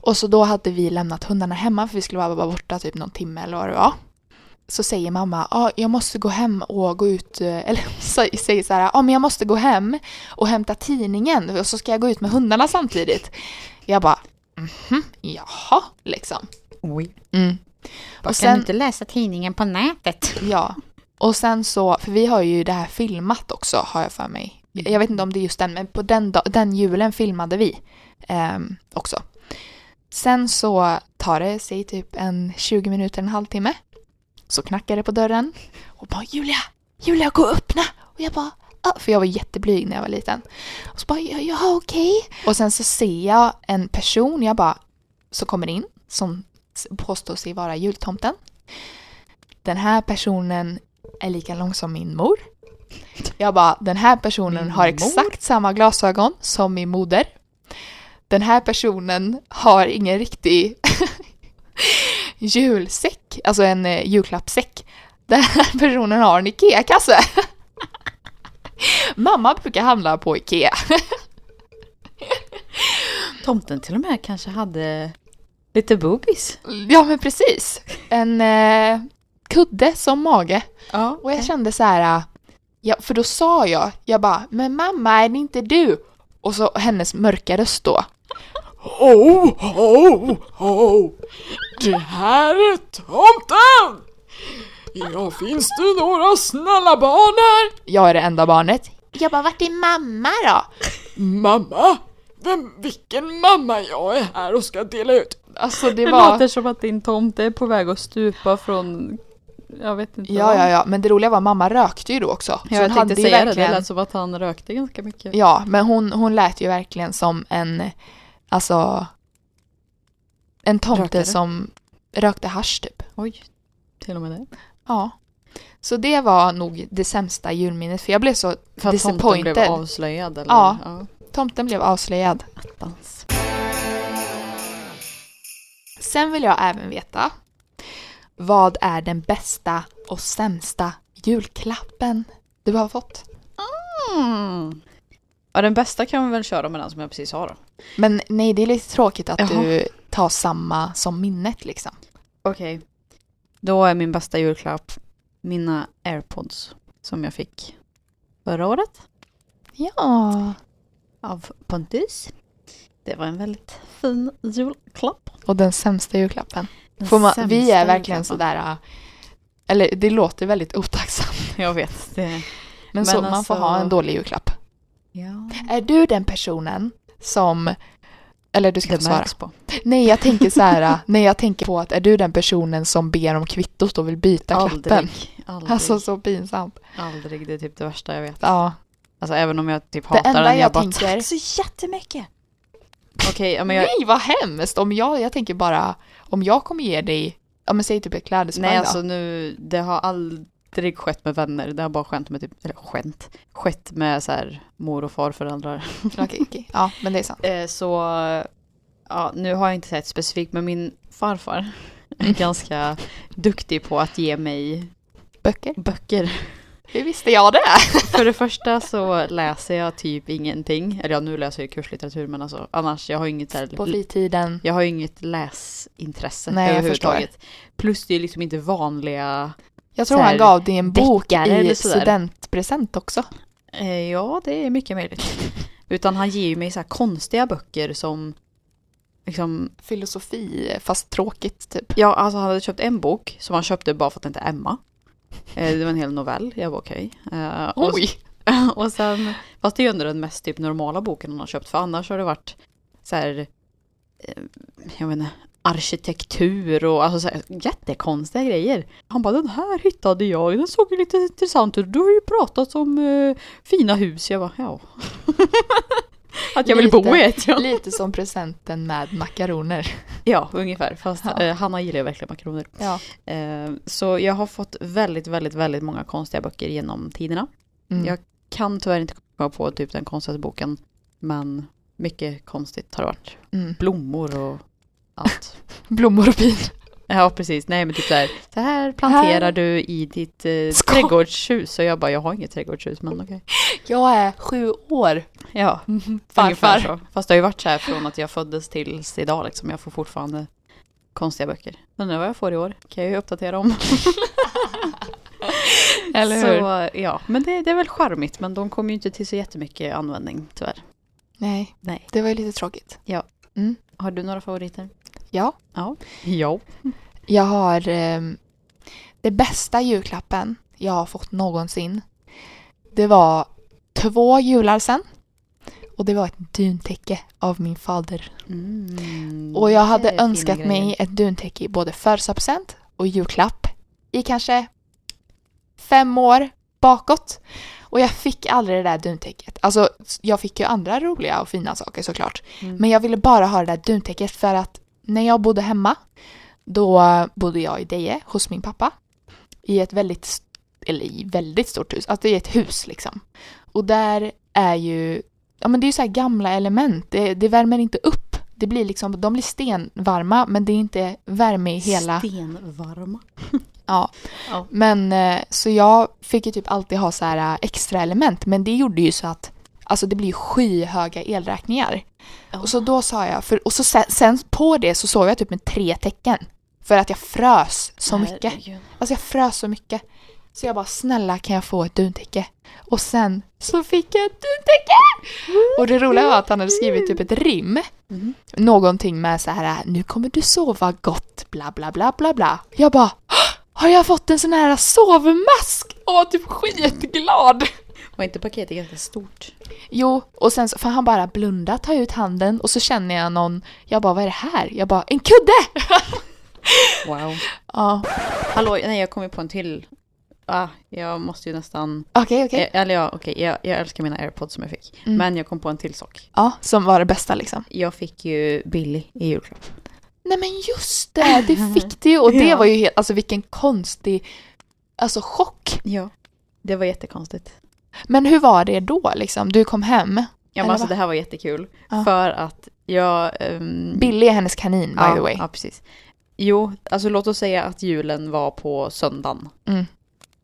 Speaker 2: Och så då hade vi lämnat hundarna hemma för vi skulle vara vara borta typ någon timme eller vad det var. Så säger mamma, ah, jag måste gå hem och gå ut, eh," eller (laughs) så, säger så här, ah, men jag måste gå hem och hämta tidningen och så ska jag gå ut med hundarna samtidigt. Jag bara, mhm, jaha, liksom.
Speaker 1: Oj.
Speaker 2: Mm.
Speaker 1: Bara,
Speaker 2: Och sen-
Speaker 1: läsa tidningen på nätet?
Speaker 2: Ja. Och sen så, för vi har ju det här filmat också har jag för mig. Jag vet inte om det är just den, men på den, dag, den julen filmade vi ehm, också. Sen så tar det sig typ en 20 minuter, en halvtimme. Så knackar det på dörren och bara Julia, Julia gå och öppna! Och jag bara, ah, för jag var jätteblyg när jag var liten. Och så bara, ja, ja okej. Och sen så ser jag en person, jag bara, så kommer in som s- påstår sig vara jultomten. Den här personen är lika lång som min mor. Jag bara, den här personen
Speaker 1: Min
Speaker 2: har
Speaker 1: mor?
Speaker 2: exakt samma glasögon som min moder. Den här personen har ingen riktig (laughs) julsäck, alltså en eh, julklappssäck. Den här personen har en IKEA-kasse. (laughs) Mamma brukar handla på IKEA.
Speaker 1: Tomten till och med kanske hade lite boobies.
Speaker 2: Ja men precis. En eh, kudde som mage.
Speaker 1: Ja,
Speaker 2: Och jag kände så här, eh, ja, för då sa jag, jag bara, men mamma är det inte du? Och så hennes mörka röst då.
Speaker 3: Oh, oh, oh! Det här är tomten! Ja, finns det några snälla barn här?
Speaker 2: Jag är det enda barnet. Jag bara, vart är mamma då?
Speaker 3: Mamma? Vem, vilken mamma jag är här och ska dela ut
Speaker 2: Alltså det
Speaker 1: det
Speaker 2: var...
Speaker 1: låter som att din tomte är på väg att stupa från, jag vet inte
Speaker 2: Ja,
Speaker 1: vad.
Speaker 2: ja, ja. Men det roliga var att mamma rökte ju då också. Så
Speaker 1: Ja, jag
Speaker 2: hon
Speaker 1: tänkte
Speaker 2: hade ju
Speaker 1: säga det,
Speaker 2: verkligen-
Speaker 1: det lät som att han rökte ganska mycket.
Speaker 2: Ja, men hon, hon lät ju verkligen som en, alltså, en tomte
Speaker 1: Rökare.
Speaker 2: som rökte hasch typ.
Speaker 1: Oj, till och med det.
Speaker 2: Ja. Så det var nog det sämsta julminnet, för jag blev så,
Speaker 1: För att tomten blev
Speaker 2: Disappointed.
Speaker 1: avslöjad eller?
Speaker 2: Ja. tomten blev avslöjad.
Speaker 1: Dans.
Speaker 2: Sen vill jag även veta, vad är den bästa och sämsta julklappen du har fått?
Speaker 1: Mm. Ja, den bästa kan vi väl köra med den som jag precis har då.
Speaker 2: Men nej, det är lite tråkigt att
Speaker 1: Jaha.
Speaker 2: du tar samma som minnet liksom.
Speaker 1: Okej. Då är min bästa julklapp mina airpods som jag fick förra året
Speaker 2: Ja.
Speaker 1: av Pontus. Det var en väldigt fin julklapp.
Speaker 2: Och den sämsta julklappen.
Speaker 1: Den
Speaker 2: Får man, vi
Speaker 1: sämsta
Speaker 2: är verkligen
Speaker 1: julklappen.
Speaker 2: sådär, äh, eller det låter väldigt otacksamt.
Speaker 1: Jag vet. Det...
Speaker 2: Men, så
Speaker 1: Men
Speaker 2: man får
Speaker 1: alltså-
Speaker 2: ha en dålig julklapp.
Speaker 1: Ja.
Speaker 2: Är du den personen som, eller du ska
Speaker 1: Det
Speaker 2: inte svara.
Speaker 1: märks på.
Speaker 2: Nej jag tänker så här, äh, nej jag tänker på att är du den personen som ber om kvittot och vill byta klappen?
Speaker 1: Aldrig. Aldrig.
Speaker 2: Alltså så pinsamt.
Speaker 1: Aldrig. Det är typ det värsta jag vet.
Speaker 2: Ja.
Speaker 1: Alltså även om jag typ hatar
Speaker 2: enda
Speaker 1: den.
Speaker 2: jag
Speaker 1: bara,
Speaker 2: tänker-
Speaker 1: Tack så jättemycket. Okej, ja, men jag...
Speaker 2: Nej vad hemskt! Om jag, jag tänker bara, om jag kommer ge dig, ja men säg typ ett klädesplagg
Speaker 1: Nej
Speaker 2: då.
Speaker 1: alltså nu, det har aldrig skett med vänner. Det har bara skänt med typ, eller skänt, skett med så här mor och farföräldrar.
Speaker 2: (laughs) Okej, okej. Ja men det är sant.
Speaker 1: Eh, så, ja nu har jag inte sett specifikt men min farfar
Speaker 2: Mm.
Speaker 1: är ganska duktig på att ge mig
Speaker 2: Böcker?
Speaker 1: böcker.
Speaker 2: Hur visste jag det?
Speaker 1: För det första så läser jag typ ingenting. Eller ja, nu läser jag kurslitteratur men alltså annars, jag har inget så här
Speaker 2: På fritiden.
Speaker 1: Jag har ju inget läsintresse
Speaker 2: Nej, jag
Speaker 1: överhuvudtaget. Plus det är liksom inte vanliga...
Speaker 2: Jag tror
Speaker 1: Så här,
Speaker 2: han gav dig en bok
Speaker 1: deckare eller
Speaker 2: i
Speaker 1: sådär.
Speaker 2: studentpresent också.
Speaker 1: Eh, ja, det är mycket möjligt. Utan han ger ju mig så här konstiga böcker som... Liksom,
Speaker 2: Filosofi, fast tråkigt typ.
Speaker 1: ja, alltså han hade köpt en bok som han köpte bara för att den inte är Emma. Eh, det var en hel novell, jag var okej. Eh, och,
Speaker 2: Oj!
Speaker 1: (laughs) och sen, fast det är ju ändå den mest typ normala boken han har köpt för annars har det varit så här, eh, jag vet inte, arkitektur och alltså så här, jättekonstiga grejer. Han bara den här hittade jag, den såg ju lite intressant ut, du har ju pratat om eh, fina hus. Jag bara ja. Att jag vill
Speaker 2: Lite.
Speaker 1: bo i ett ja.
Speaker 2: Lite som presenten med makaroner.
Speaker 1: Ja, ungefär. Fast
Speaker 2: Ja.
Speaker 1: eh, Hanna gillar ju verkligen makaroner.
Speaker 2: Ja.
Speaker 1: Eh, så jag har fått väldigt, väldigt, väldigt många konstiga böcker genom tiderna.
Speaker 2: Mm.
Speaker 1: Jag kan tyvärr inte komma på typ den konstigaste boken. Men mycket konstigt har det varit.
Speaker 2: Mm.
Speaker 1: Blommor och allt.
Speaker 2: Blommor och bin.
Speaker 1: (laughs) ja precis, nej men typ så här. Det här planterar
Speaker 2: Här.
Speaker 1: du i ditt eh,
Speaker 2: Ska-
Speaker 1: trädgårdshus. Och jag bara, jag har inget trädgårdshus men okej.
Speaker 2: (laughs) Jag är sju år.
Speaker 1: Ja, ungefär
Speaker 2: Farfar.
Speaker 1: så. Fast det har ju varit så här från att jag föddes tills idag liksom. Jag får fortfarande konstiga böcker. Undrar vad jag får i år. Kan jag ju uppdatera om.
Speaker 2: (laughs) Eller hur?
Speaker 1: Så ja, men det, det är väl charmigt. Men de kommer ju inte till så jättemycket användning tyvärr.
Speaker 2: Nej.
Speaker 1: Nej.
Speaker 2: Det var ju lite tråkigt.
Speaker 1: Har du några favoriter?
Speaker 2: Ja.
Speaker 1: Ja.
Speaker 2: Jag har ehm, det bästa julklappen jag har fått någonsin. Det var två jular sen. Och det var ett duntäcke av min fader.
Speaker 1: Mm.
Speaker 2: Och jag
Speaker 1: Det
Speaker 2: hade
Speaker 1: är fina
Speaker 2: önskat
Speaker 1: grejer.
Speaker 2: mig ett duntäcke i både födelsedagspresent och julklapp i kanske fem år bakåt. Och jag fick aldrig det där duntäcket. Alltså, jag fick ju andra roliga och fina saker såklart.
Speaker 1: Mm.
Speaker 2: Men jag ville bara ha det där duntäcket för att när jag bodde hemma, då bodde jag i Deje hos min pappa. I ett väldigt, st- eller i väldigt stort hus, alltså i ett hus liksom. Och där är ju ja men det är ju så här gamla element, det, det värmer inte upp. Det blir liksom, de blir stenvarma men det är inte värme i hela.
Speaker 1: Stenvarma.
Speaker 2: Ja.
Speaker 1: Ja.
Speaker 2: Men eh, så jag fick ju typ alltid ha så här eh, extra element men det gjorde ju så att alltså det blir ju skyhöga elräkningar.
Speaker 1: Ja.
Speaker 2: Och så då sa jag, för, och så sen, sen på det så sov jag typ med tre tecken. För att jag frös så mycket.
Speaker 1: Herregud.
Speaker 2: Alltså jag frös så mycket. Så jag bara snälla kan jag få ett duntäcke? Och sen så fick jag ett duntäcke! Och det roliga var att han hade skrivit typ ett rim.
Speaker 1: Mhm.
Speaker 2: Någonting med så här nu kommer du sova gott bla bla bla bla bla. Jag bara "Hå! har jag fått en sån här sovmask? Och var typ skitglad.
Speaker 1: Var inte paketet ganska stort?
Speaker 2: Jo, och sen så får han bara blunda, ta ut handen och så känner jag någon, jag bara vad är det här? Jag bara en kudde!
Speaker 1: Wow.
Speaker 2: Ja,
Speaker 1: Hallå, nej jag kom ju på en till. Ah, jag måste ju nästan...
Speaker 2: okej okej.
Speaker 1: Eh, Eller ja, okej, jag, jag älskar mina airpods som jag fick.
Speaker 2: Mm.
Speaker 1: Eh, Men jag kom på en till sak.
Speaker 2: Ja, som var det bästa liksom.
Speaker 1: Jag fick ju Billy i julklapp.
Speaker 2: Nej men just det, det
Speaker 1: (laughs)
Speaker 2: fick du ju och det
Speaker 1: Ja.
Speaker 2: var ju helt, alltså vilken konstig, alltså chock.
Speaker 1: Ja. Det var jättekonstigt.
Speaker 2: Men hur var det då liksom? Du kom hem,
Speaker 1: Ja men
Speaker 2: Eller
Speaker 1: alltså
Speaker 2: va?
Speaker 1: det här var jättekul.
Speaker 2: Ja.
Speaker 1: För att jag... ehm,
Speaker 2: Billy är hennes kanin by
Speaker 1: ja,
Speaker 2: the way.
Speaker 1: Ja, precis. Jo, alltså låt oss säga att julen var på söndagen.
Speaker 2: Mm.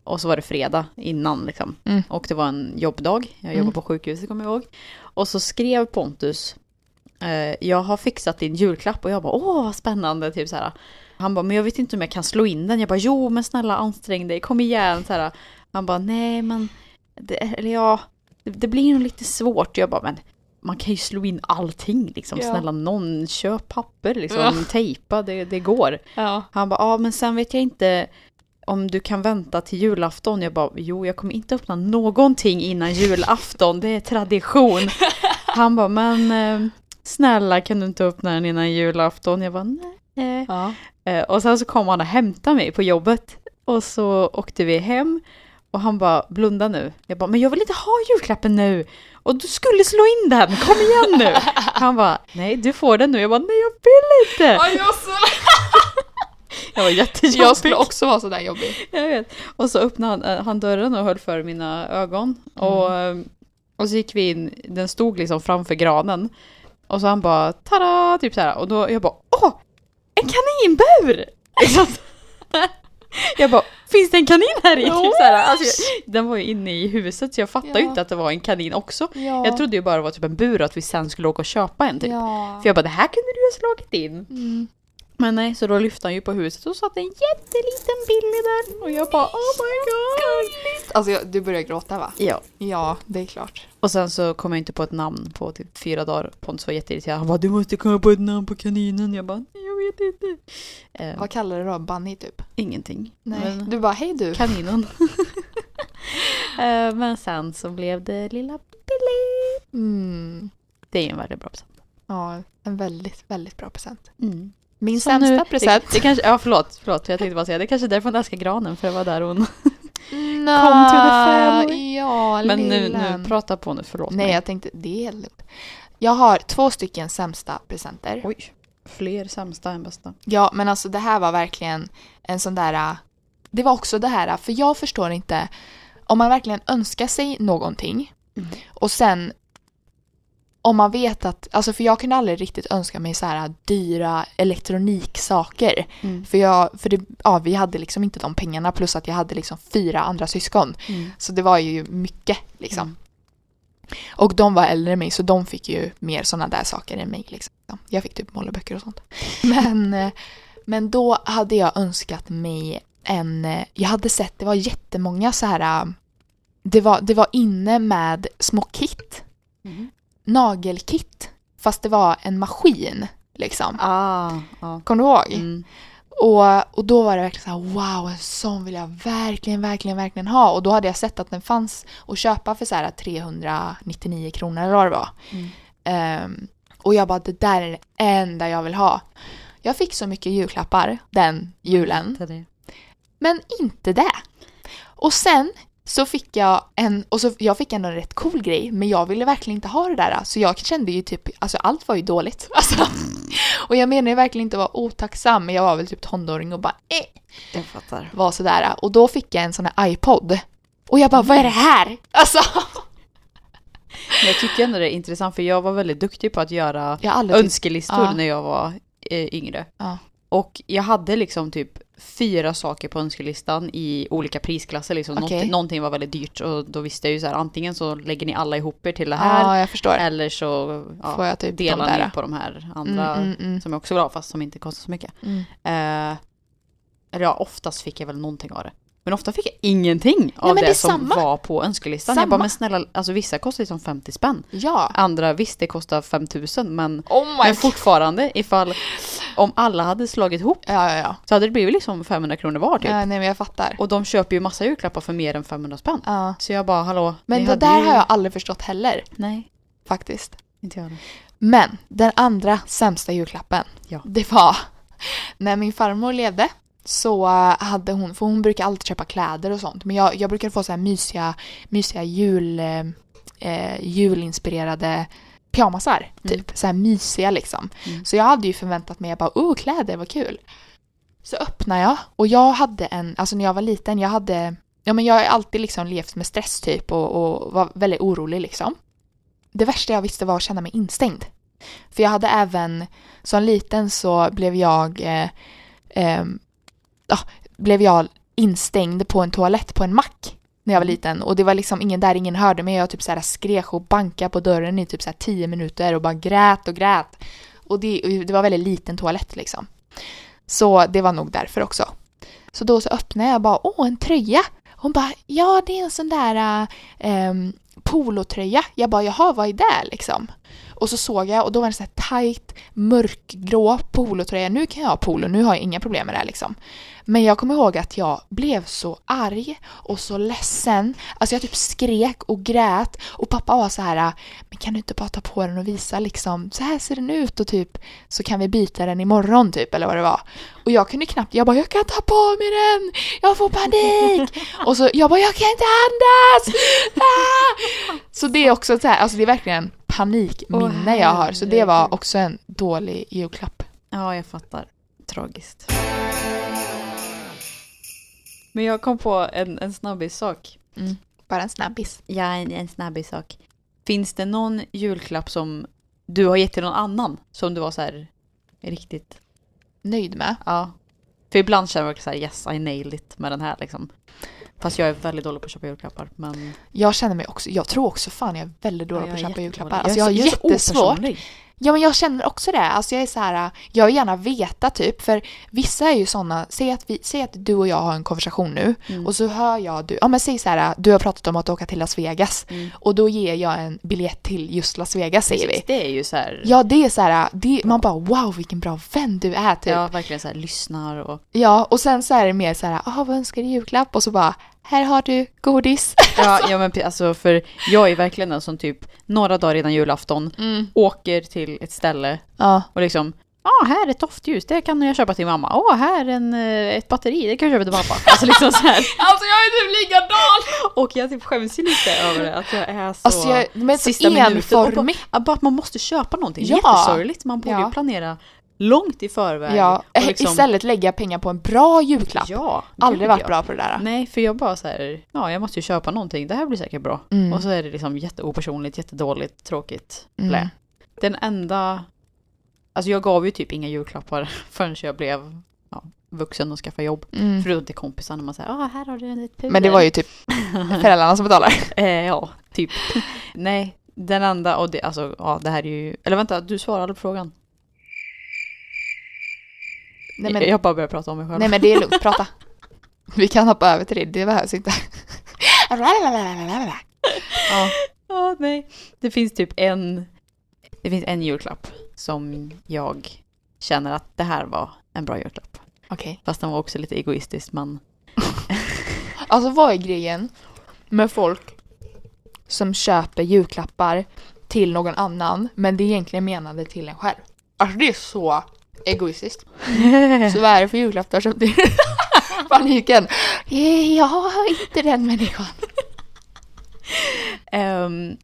Speaker 1: Och så var det fredag innan liksom.
Speaker 2: Mm.
Speaker 1: Och det var en jobbdag. Jag jobbade
Speaker 2: Mm.
Speaker 1: på sjukhuset kommer jag ihåg. Och så skrev Pontus. Eh, jag har fixat din julklapp och jag bara åh vad spännande. Typ så här. Han bara men jag vet inte om jag kan slå in den. Jag bara jo men snälla ansträng dig kom igen. Så här. Han bara nej men. Det, eller ja. Det, det blir nog lite svårt. Jag bara men. Man kan ju slå in allting liksom.
Speaker 2: Ja.
Speaker 1: Snälla någon köp papper liksom.
Speaker 2: Ja.
Speaker 1: Tejpa det, det går.
Speaker 2: Ja.
Speaker 1: Han bara, ja men sen vet jag inte om du kan vänta till julafton. Jag bara, jo jag kommer inte öppna någonting innan julafton, det är tradition.
Speaker 2: (laughs)
Speaker 1: Han bara, men eh, snälla kan du inte öppna den innan julafton? Jag bara, nej.
Speaker 2: ja.
Speaker 1: Eh, Och sen så kom han och hämtade mig på jobbet och så åkte vi hem och han bara, blunda nu. Jag bara, men jag vill inte ha julklappen nu! Och du skulle slå in den, kom igen nu! Han bara, nej du får den nu. Jag bara, nej jag vill inte!
Speaker 2: Ja, (laughs) jag, så,
Speaker 1: Jag var jättejobbig.
Speaker 2: jag skulle också vara sådär jobbig.
Speaker 1: (laughs) Jag vet. Och så öppnade han, eh, han dörren och höll för mina ögon.
Speaker 2: Mm.
Speaker 1: Och, eh, och så gick vi in, den stod liksom framför granen. Och så han bara tada, typ så här. Och då jag bara åh, en kaninbur! Liksom (laughs) så här. jag bara finns det en kanin här i? Typ så här. Alltså, jag- den var ju inne i huset så jag fattade ju
Speaker 2: Ja.
Speaker 1: inte att det var en kanin också.
Speaker 2: Ja.
Speaker 1: Jag trodde ju bara det var typ en bur och att vi sen skulle åka och köpa en typ.
Speaker 2: Ja.
Speaker 1: För jag bara det här kunde du ju ha slagit in.
Speaker 2: Mm.
Speaker 1: Men nej, så då lyfte han ju på huset och satt en jätteliten Billy där. Och jag bara oh my god.
Speaker 2: Alltså, jag, du börjar gråta va?
Speaker 1: Ja.
Speaker 2: Ja, det är klart.
Speaker 1: Och sen så kom jag inte på ett namn på typ fyra dagar. Pontus var jätteirriterad. Han bara du måste komma på ett namn på kaninen. Jag bara "Nej, jag vet inte. Eh,
Speaker 2: Vad kallar du då? Bunny typ?
Speaker 1: ingenting. Men,
Speaker 2: Du bara, hej du.
Speaker 1: kaninen. (laughs) eh, men sen så blev det lilla Billy.
Speaker 2: Mm.
Speaker 1: Det är ju en väldigt bra present.
Speaker 2: Ja, en väldigt, väldigt bra present.
Speaker 1: Mm.
Speaker 2: Min
Speaker 1: Så
Speaker 2: sämsta
Speaker 1: nu-
Speaker 2: present.
Speaker 1: Det, det kanske, ja förlåt, förlåt. Jag tänkte bara säga det är kanske är därför hon älskar granen. För det var där hon.
Speaker 2: Nå,
Speaker 1: Come to the family.
Speaker 2: Ja,
Speaker 1: Men nu,
Speaker 2: lillen.
Speaker 1: nu prata på nu, förlåt
Speaker 2: Nej,
Speaker 1: mig.
Speaker 2: jag tänkte, det är lugnt. Jag har två stycken sämsta presenter.
Speaker 1: Oj. Fler sämsta än bästa.
Speaker 2: Ja, men alltså det här var verkligen en sån där... äh, Det var också det här, äh, för jag förstår inte. Om man verkligen önskar sig någonting
Speaker 1: Mm.
Speaker 2: och sen om man vet att, alltså för jag kunde aldrig riktigt önska mig så här äh, dyra elektroniksaker.
Speaker 1: Mm.
Speaker 2: För, jag, för det, ja, vi hade liksom inte de pengarna plus att jag hade liksom fyra andra syskon.
Speaker 1: Mm.
Speaker 2: Så det var ju mycket liksom.
Speaker 1: Mm.
Speaker 2: Och de var äldre än mig så de fick ju mer sådana där saker än mig. Liksom. Jag fick typ målarböcker och sånt. (laughs) Men, eh, men då hade jag önskat mig en... eh, Jag hade sett, det var jättemånga så här... eh, Det var, det var inne med små kit.
Speaker 1: Mm.
Speaker 2: Nagelkit. Fast det var en maskin liksom.
Speaker 1: Ah, ja.
Speaker 2: Kommer du ihåg?
Speaker 1: Mm.
Speaker 2: Och, och då var det verkligen så här, wow, en sån vill jag verkligen, verkligen, verkligen ha. Och då hade jag sett att den fanns att köpa för så här 399 kronor eller vad det var.
Speaker 1: Mm.
Speaker 2: Ehm, och jag bara, det där är det enda jag vill ha. Jag fick så mycket julklappar den julen,
Speaker 1: Till det.
Speaker 2: men inte det. Och sen så fick jag en, och så, jag fick ändå en rätt cool grej, men jag ville verkligen inte ha det där. Så jag kände ju typ, alltså allt var ju dåligt. (laughs) Alltså, och jag menar ju verkligen inte att vara otacksam, men jag var väl typ tonåring och bara, eh
Speaker 1: Jag fattar.
Speaker 2: var sådär och då fick jag en sån här iPod. Och jag bara, vad är det här? Alltså, (laughs)
Speaker 1: Men jag tycker ändå det är intressant för jag var väldigt duktig på att göra
Speaker 2: jag har aldrig tyckt-
Speaker 1: önskelistor
Speaker 2: typ- Ja.
Speaker 1: när jag var eh, yngre.
Speaker 2: Ja.
Speaker 1: Och jag hade liksom typ fyra saker på önskelistan i olika prisklasser. Liksom. Något-
Speaker 2: Okej.
Speaker 1: Någonting var väldigt dyrt och då visste jag ju så här antingen så lägger ni alla ihop er till det här
Speaker 2: Ja, jag förstår.
Speaker 1: eller så ja,
Speaker 2: Eh, Får jag typ de
Speaker 1: delar
Speaker 2: där.
Speaker 1: ni på de här
Speaker 2: Mm,
Speaker 1: andra
Speaker 2: mm, mm,
Speaker 1: som jag också vill ha fast som inte kostar så mycket.
Speaker 2: mm.
Speaker 1: Eh, eller ja, oftast fick jag väl någonting av det. Men ofta fick jag ingenting av
Speaker 2: men
Speaker 1: det,
Speaker 2: det är
Speaker 1: som
Speaker 2: samma.
Speaker 1: var på önskelistan. Jag
Speaker 2: Samma.
Speaker 1: bara, men snälla, alltså vissa kostar ju som 50 spänn.
Speaker 2: Ja.
Speaker 1: Andra, visst det kostar 5000 men,
Speaker 2: Oh my
Speaker 1: men
Speaker 2: god.
Speaker 1: fortfarande ifall, om alla hade slagit ihop
Speaker 2: Ja, ja, ja.
Speaker 1: så hade det blivit liksom 500 kronor var typ.
Speaker 2: ja. Nej, men jag fattar.
Speaker 1: Och de köper ju massa julklappar för mer än 500 spänn.
Speaker 2: Ja.
Speaker 1: Så jag bara, hallå,
Speaker 2: Men
Speaker 1: ni
Speaker 2: det
Speaker 1: hade
Speaker 2: där
Speaker 1: ju-
Speaker 2: har jag aldrig förstått heller,
Speaker 1: Nej,
Speaker 2: faktiskt.
Speaker 1: inte jag heller.
Speaker 2: Men den andra sämsta julklappen,
Speaker 1: Ja.
Speaker 2: det var (laughs) när min farmor levde så eh, hade hon, för hon brukar alltid köpa kläder och sånt, men jag, jag brukade få så här mysiga, mysiga jul, eh, eh, julinspirerade pyjamasar, typ. Så här mysiga liksom.
Speaker 1: Mm.
Speaker 2: Så jag hade ju förväntat mig, jag bara, oh kläder, vad kul. Så öppnar jag och jag hade en, alltså när jag var liten, jag hade, ja men jag har alltid liksom levt med stress typ och, och var väldigt orolig liksom. Det värsta jag visste var att känna mig instängd. För jag hade även, som liten så eh, blev jag, eh, ehm, ja, blev jag instängd på en toalett på en mack när jag var liten och det var liksom ingen där, ingen hörde mig. Jag typ så här skrek och bankade på dörren i typ så här tio minuter och bara grät och grät. Och det, och det var väldigt liten toalett liksom. Så det var nog därför också. Så då så öppnade jag bara, åh en tröja! Hon bara, ja det är en sån där äh, polotröja. Jag bara, jaha vad är det liksom? Och så såg jag och då var det så här tight, mörkgrå polotröja. Nu kan jag ha polo, nu har jag inga problem med det här liksom. Men jag kommer ihåg att jag blev så arg och så ledsen. Alltså jag typ skrek och grät och pappa var så här men kan du inte bara ta på den och visa liksom så här ser den ut och typ så kan vi byta den imorgon typ eller vad det var. Och jag kunde knappt, jag bara jag kan ta på mig den, jag får panik! Och så jag bara jag kan inte andas! Ah! Så det är också så här, alltså det är verkligen panikminne jag har så det var också en dålig julklapp.
Speaker 1: Ja, jag fattar. Tragiskt. Men jag kom på en, en snabbis sak.
Speaker 2: Bara en snabbis.
Speaker 1: Ja, en, en snabbis sak. Finns det någon julklapp som du har gett till någon annan som du var så här riktigt,
Speaker 2: Nöjd med.
Speaker 1: ja. För ibland känner man också så här yes I nailed it med den här liksom. Fast jag är väldigt dålig på att köpa julklappar. Men
Speaker 2: Jag känner mig också, jag tror också fan jag är väldigt dålig på
Speaker 1: Ja,
Speaker 2: att
Speaker 1: jag är
Speaker 2: köpa julklappar.
Speaker 1: jättedålig.
Speaker 2: Alltså jag har
Speaker 1: är så- jag är så
Speaker 2: jättesvårt.
Speaker 1: opersonlig.
Speaker 2: Ja men jag känner också det. Alltså jag är så här, jag vill gärna veta typ. För vissa är ju sådana, säg att, vi, säg att du och jag har en konversation nu.
Speaker 1: Mm.
Speaker 2: Och så hör jag du, ja men säg så här, du har pratat om att åka till Las Vegas. Och då ger jag en biljett till just Las Vegas säger vi.
Speaker 1: Mm. Precis, Alltså, det är ju så här.
Speaker 2: Ja det är så här, det, man bara wow vilken bra vän du är typ.
Speaker 1: Ja, verkligen så här lyssnar och...
Speaker 2: Ja, och sen så är det mer så här, ah vad önskar du i julklapp? Och så bara, här har du godis.
Speaker 1: Ja, (laughs) ja men pe- alltså för jag är verkligen en som typ några dagar innan julafton
Speaker 3: Mm.
Speaker 1: åker till ett ställe
Speaker 2: (laughs) Ja,
Speaker 1: och liksom Ja, ah, här är ett doftljus, det kan jag köpa till mamma. Åh, här är en, eh, ett batteri, det kan jag köpa till pappa. (laughs) Alltså liksom så här.
Speaker 3: Alltså jag är typ likadan!
Speaker 1: Och jag typ skäms ju lite över det, att jag är så...
Speaker 2: alltså jag, men så
Speaker 1: sista minuten. Och
Speaker 2: enformig.
Speaker 1: bara, ja, bara att man måste köpa någonting,
Speaker 2: Ja.
Speaker 1: jättesorgligt. Man borde
Speaker 2: Ja.
Speaker 1: ju planera långt i förväg.
Speaker 2: Ja, eh,
Speaker 1: och liksom-
Speaker 2: istället lägga pengar på en bra julklapp.
Speaker 1: Ja,
Speaker 2: Aldrig
Speaker 1: gud,
Speaker 2: varit
Speaker 1: ja.
Speaker 2: bra på det där.
Speaker 1: Nej, för jag bara så här, ja jag måste ju köpa någonting, det här blir säkert bra.
Speaker 2: Mm.
Speaker 1: Och så är det liksom jätteopersonligt, jättedåligt, tråkigt.
Speaker 2: Mm.
Speaker 1: Blä. Den enda, alltså jag gav ju typ inga julklappar (laughs) förrän jag blev ja, vuxen och skaffade jobb.
Speaker 2: Mm.
Speaker 1: Förutom till kompisarna, man säger ah här har du ett pudel.
Speaker 2: Men det var ju typ föräldrarna som betalar.
Speaker 1: (laughs) eh, ja, typ. (laughs) Nej, den enda, och det, alltså ja det här är ju, eller vänta, du svarade på frågan. (laughs)
Speaker 2: Nej men,
Speaker 1: jag bara börjar prata om mig själv.
Speaker 2: nej men det är lugnt, prata. Vi kan hoppa över till det, det
Speaker 1: (laughs)
Speaker 2: behövs inte.
Speaker 1: Ja. ja, Ah, nej. Det finns typ en, det finns en julklapp som jag känner att det här var en bra julklapp.
Speaker 2: Okej.
Speaker 1: Fast den var också lite egoistisk men
Speaker 2: Alltså vad är grejen med folk som köper julklappar till någon annan men det är egentligen menade till en själv? Alltså det är så (laughs) egoistiskt. Så vad är det för julklapp du har (laughs) köpt till? Paniken. Eh, Jag har inte den människan.
Speaker 1: Ehm,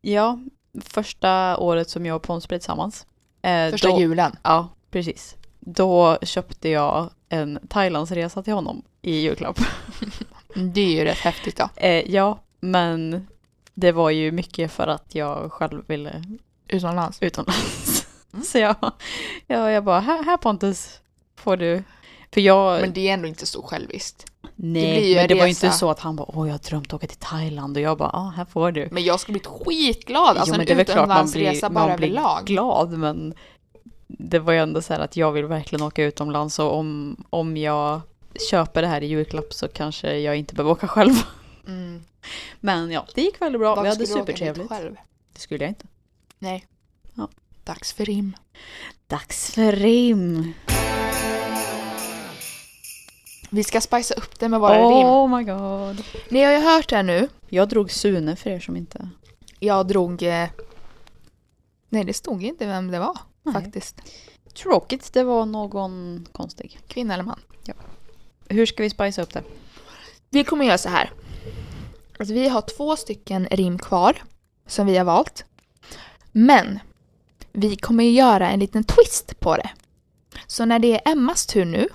Speaker 1: ja, första året som jag och Pons blev tillsammans. eh,
Speaker 2: Första
Speaker 1: då,
Speaker 2: julen.
Speaker 1: Ja, precis. Då köpte jag en Thailandsresa till honom i julklapp. (laughs)
Speaker 2: Det är ju rätt häftigt då.
Speaker 1: Eh, ja, men det var ju mycket för att jag själv ville
Speaker 2: Utomlands.
Speaker 1: utomlands. (laughs)
Speaker 2: Mm.
Speaker 1: Så jag, jag, jag bara, här, här Pontus får du. För jag,
Speaker 2: Men det är ändå inte så själviskt.
Speaker 1: nej,
Speaker 2: det blir ju
Speaker 1: men
Speaker 2: en
Speaker 1: det var ju
Speaker 2: resa.
Speaker 1: inte så att han bara, åh jag har drömt att åka till Thailand och jag bara, ja här får du.
Speaker 2: Men jag skulle bli skitglad. Alltså
Speaker 1: Jo, men
Speaker 2: en
Speaker 1: väl klart
Speaker 2: utomlandsresa bara överlag.
Speaker 1: glad men det var ju ändå så här att jag vill verkligen åka utomlands och om, om jag köper det här i julklapp så kanske jag inte behöver åka själv. (laughs)
Speaker 2: Mm.
Speaker 1: Men ja, det gick väldigt bra.
Speaker 2: Varför
Speaker 1: Vi hade
Speaker 2: skulle du åka dit
Speaker 1: supertrevligt.
Speaker 2: själv?
Speaker 1: Det skulle jag inte.
Speaker 2: Nej.
Speaker 1: Ja.
Speaker 2: Dags för rim.
Speaker 1: Dags för rim.
Speaker 2: Vi ska spicea upp det med våra rim.
Speaker 1: Oh my god.
Speaker 2: Ni har ju hört det här nu.
Speaker 1: Jag drog Sune för er som inte...
Speaker 2: Jag drog... eh, Nej, det stod inte vem det var
Speaker 1: Nej.
Speaker 2: faktiskt.
Speaker 1: Tråkigt, det var någon konstig.
Speaker 2: Kvinna eller man.
Speaker 1: Hur ska vi spicea upp det?
Speaker 2: Vi kommer göra så här. Alltså, vi har två stycken rim kvar som vi har valt. Men vi kommer ju göra en liten twist på det. Så när det är Emmas tur nu,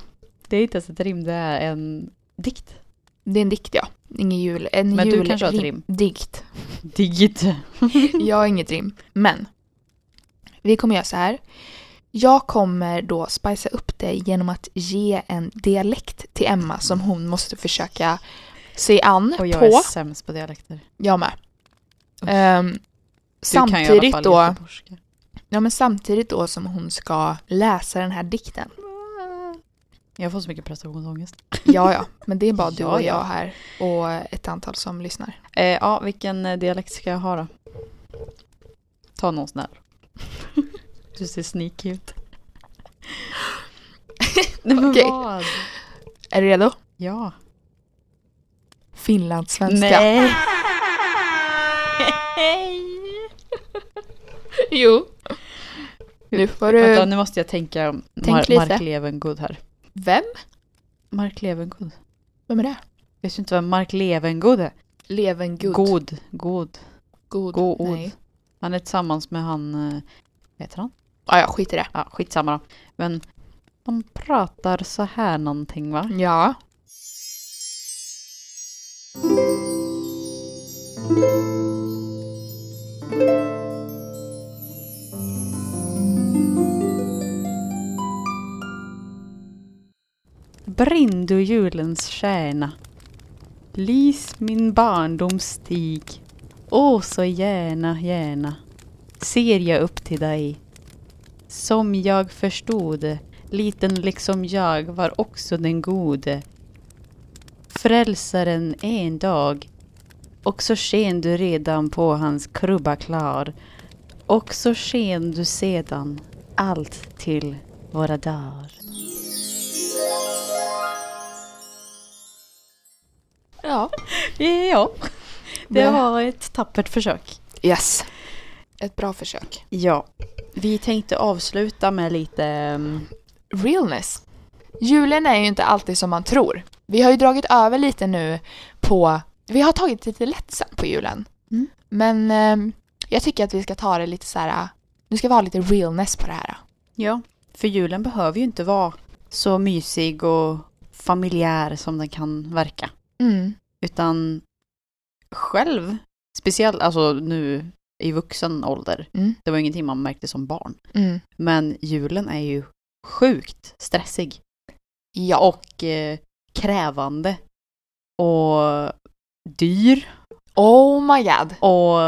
Speaker 1: Det är inte ens ett rim, det är en dikt.
Speaker 2: det är en dikt ja, ingen jul, en
Speaker 1: Men du
Speaker 2: jul-
Speaker 1: kanske har ett rim?
Speaker 2: Dikt.
Speaker 1: (laughs) Dikt.
Speaker 2: (laughs) Jag har inget rim. Men. Vi kommer göra så här. Jag kommer då spicea upp det genom att ge en dialekt till Emma som hon måste försöka se an
Speaker 1: Och jag
Speaker 2: på.
Speaker 1: är sämst på dialekter.
Speaker 2: Jag med.
Speaker 1: Usch.
Speaker 2: Ehm,
Speaker 1: Du kan ju i alla
Speaker 2: samtidigt
Speaker 1: fall
Speaker 2: då,
Speaker 1: göteborgska.
Speaker 2: ja, men samtidigt då som hon ska läsa den här dikten.
Speaker 1: Jag får så mycket prestationsångest.
Speaker 2: Ja, ja, men det
Speaker 1: (laughs)
Speaker 2: är bara du
Speaker 1: Ja,
Speaker 2: och
Speaker 1: ja.
Speaker 2: jag här och ett antal som lyssnar.
Speaker 1: Eh, ja, vilken eh, dialekt ska jag ha då? Ta någon snäll. (laughs) Du ser sneaky ut. (laughs) Nej men
Speaker 2: Okej.
Speaker 1: vad?
Speaker 2: Är du redo?
Speaker 1: Ja.
Speaker 2: Finlandssvenska.
Speaker 1: Nej.
Speaker 2: Jo. Nu får
Speaker 1: Vänta,
Speaker 2: du...
Speaker 1: nu måste jag tänka om
Speaker 2: Tänk
Speaker 1: Mar-
Speaker 2: lite.
Speaker 1: Mark Levengood här.
Speaker 2: Vem?
Speaker 1: Mark Levengood.
Speaker 2: Vem är det?
Speaker 1: Jag vet inte vem Mark Levengood är.
Speaker 2: Levengud.
Speaker 1: God. God.
Speaker 2: God.
Speaker 1: God.
Speaker 2: Nej.
Speaker 1: Han är tillsammans med han, eh, vad heter han?
Speaker 2: Ja, ja, skit i det.
Speaker 1: Ja, skitsamma då. Men de pratar så här någonting va?
Speaker 2: Ja.
Speaker 1: Brinn du julens stjärna. Lys min barndoms stig. Åh, så gärna, gärna ser jag upp till dig. Som jag förstod, liten liksom jag var också den gode. Frälsaren en dag och så sken du redan på hans krubba klar och så sken du sedan allt till våra dagar.
Speaker 2: Ja.
Speaker 1: Ja, det
Speaker 2: Bra.
Speaker 1: var ett tappert försök.
Speaker 2: Yes. Ett bra försök.
Speaker 1: Ja, vi tänkte avsluta med lite... ehm,
Speaker 2: realness. Julen är ju inte alltid som man tror. Vi har ju dragit över lite nu på... Vi har tagit lite lättsamt på julen.
Speaker 1: Mm.
Speaker 2: Men ehm, jag tycker att vi ska ta det lite så här... Nu ska vi ha lite realness på det här.
Speaker 1: Ja, för julen behöver ju inte vara så mysig och familjär som den kan verka.
Speaker 2: Mm.
Speaker 1: Utan själv, speciellt alltså nu i vuxen ålder,
Speaker 2: Mm.
Speaker 1: det var ingenting man märkte som barn.
Speaker 2: Mm.
Speaker 1: Men julen är ju sjukt stressig
Speaker 2: Ja.
Speaker 1: och eh, krävande och dyr.
Speaker 2: Oh my god.
Speaker 1: Och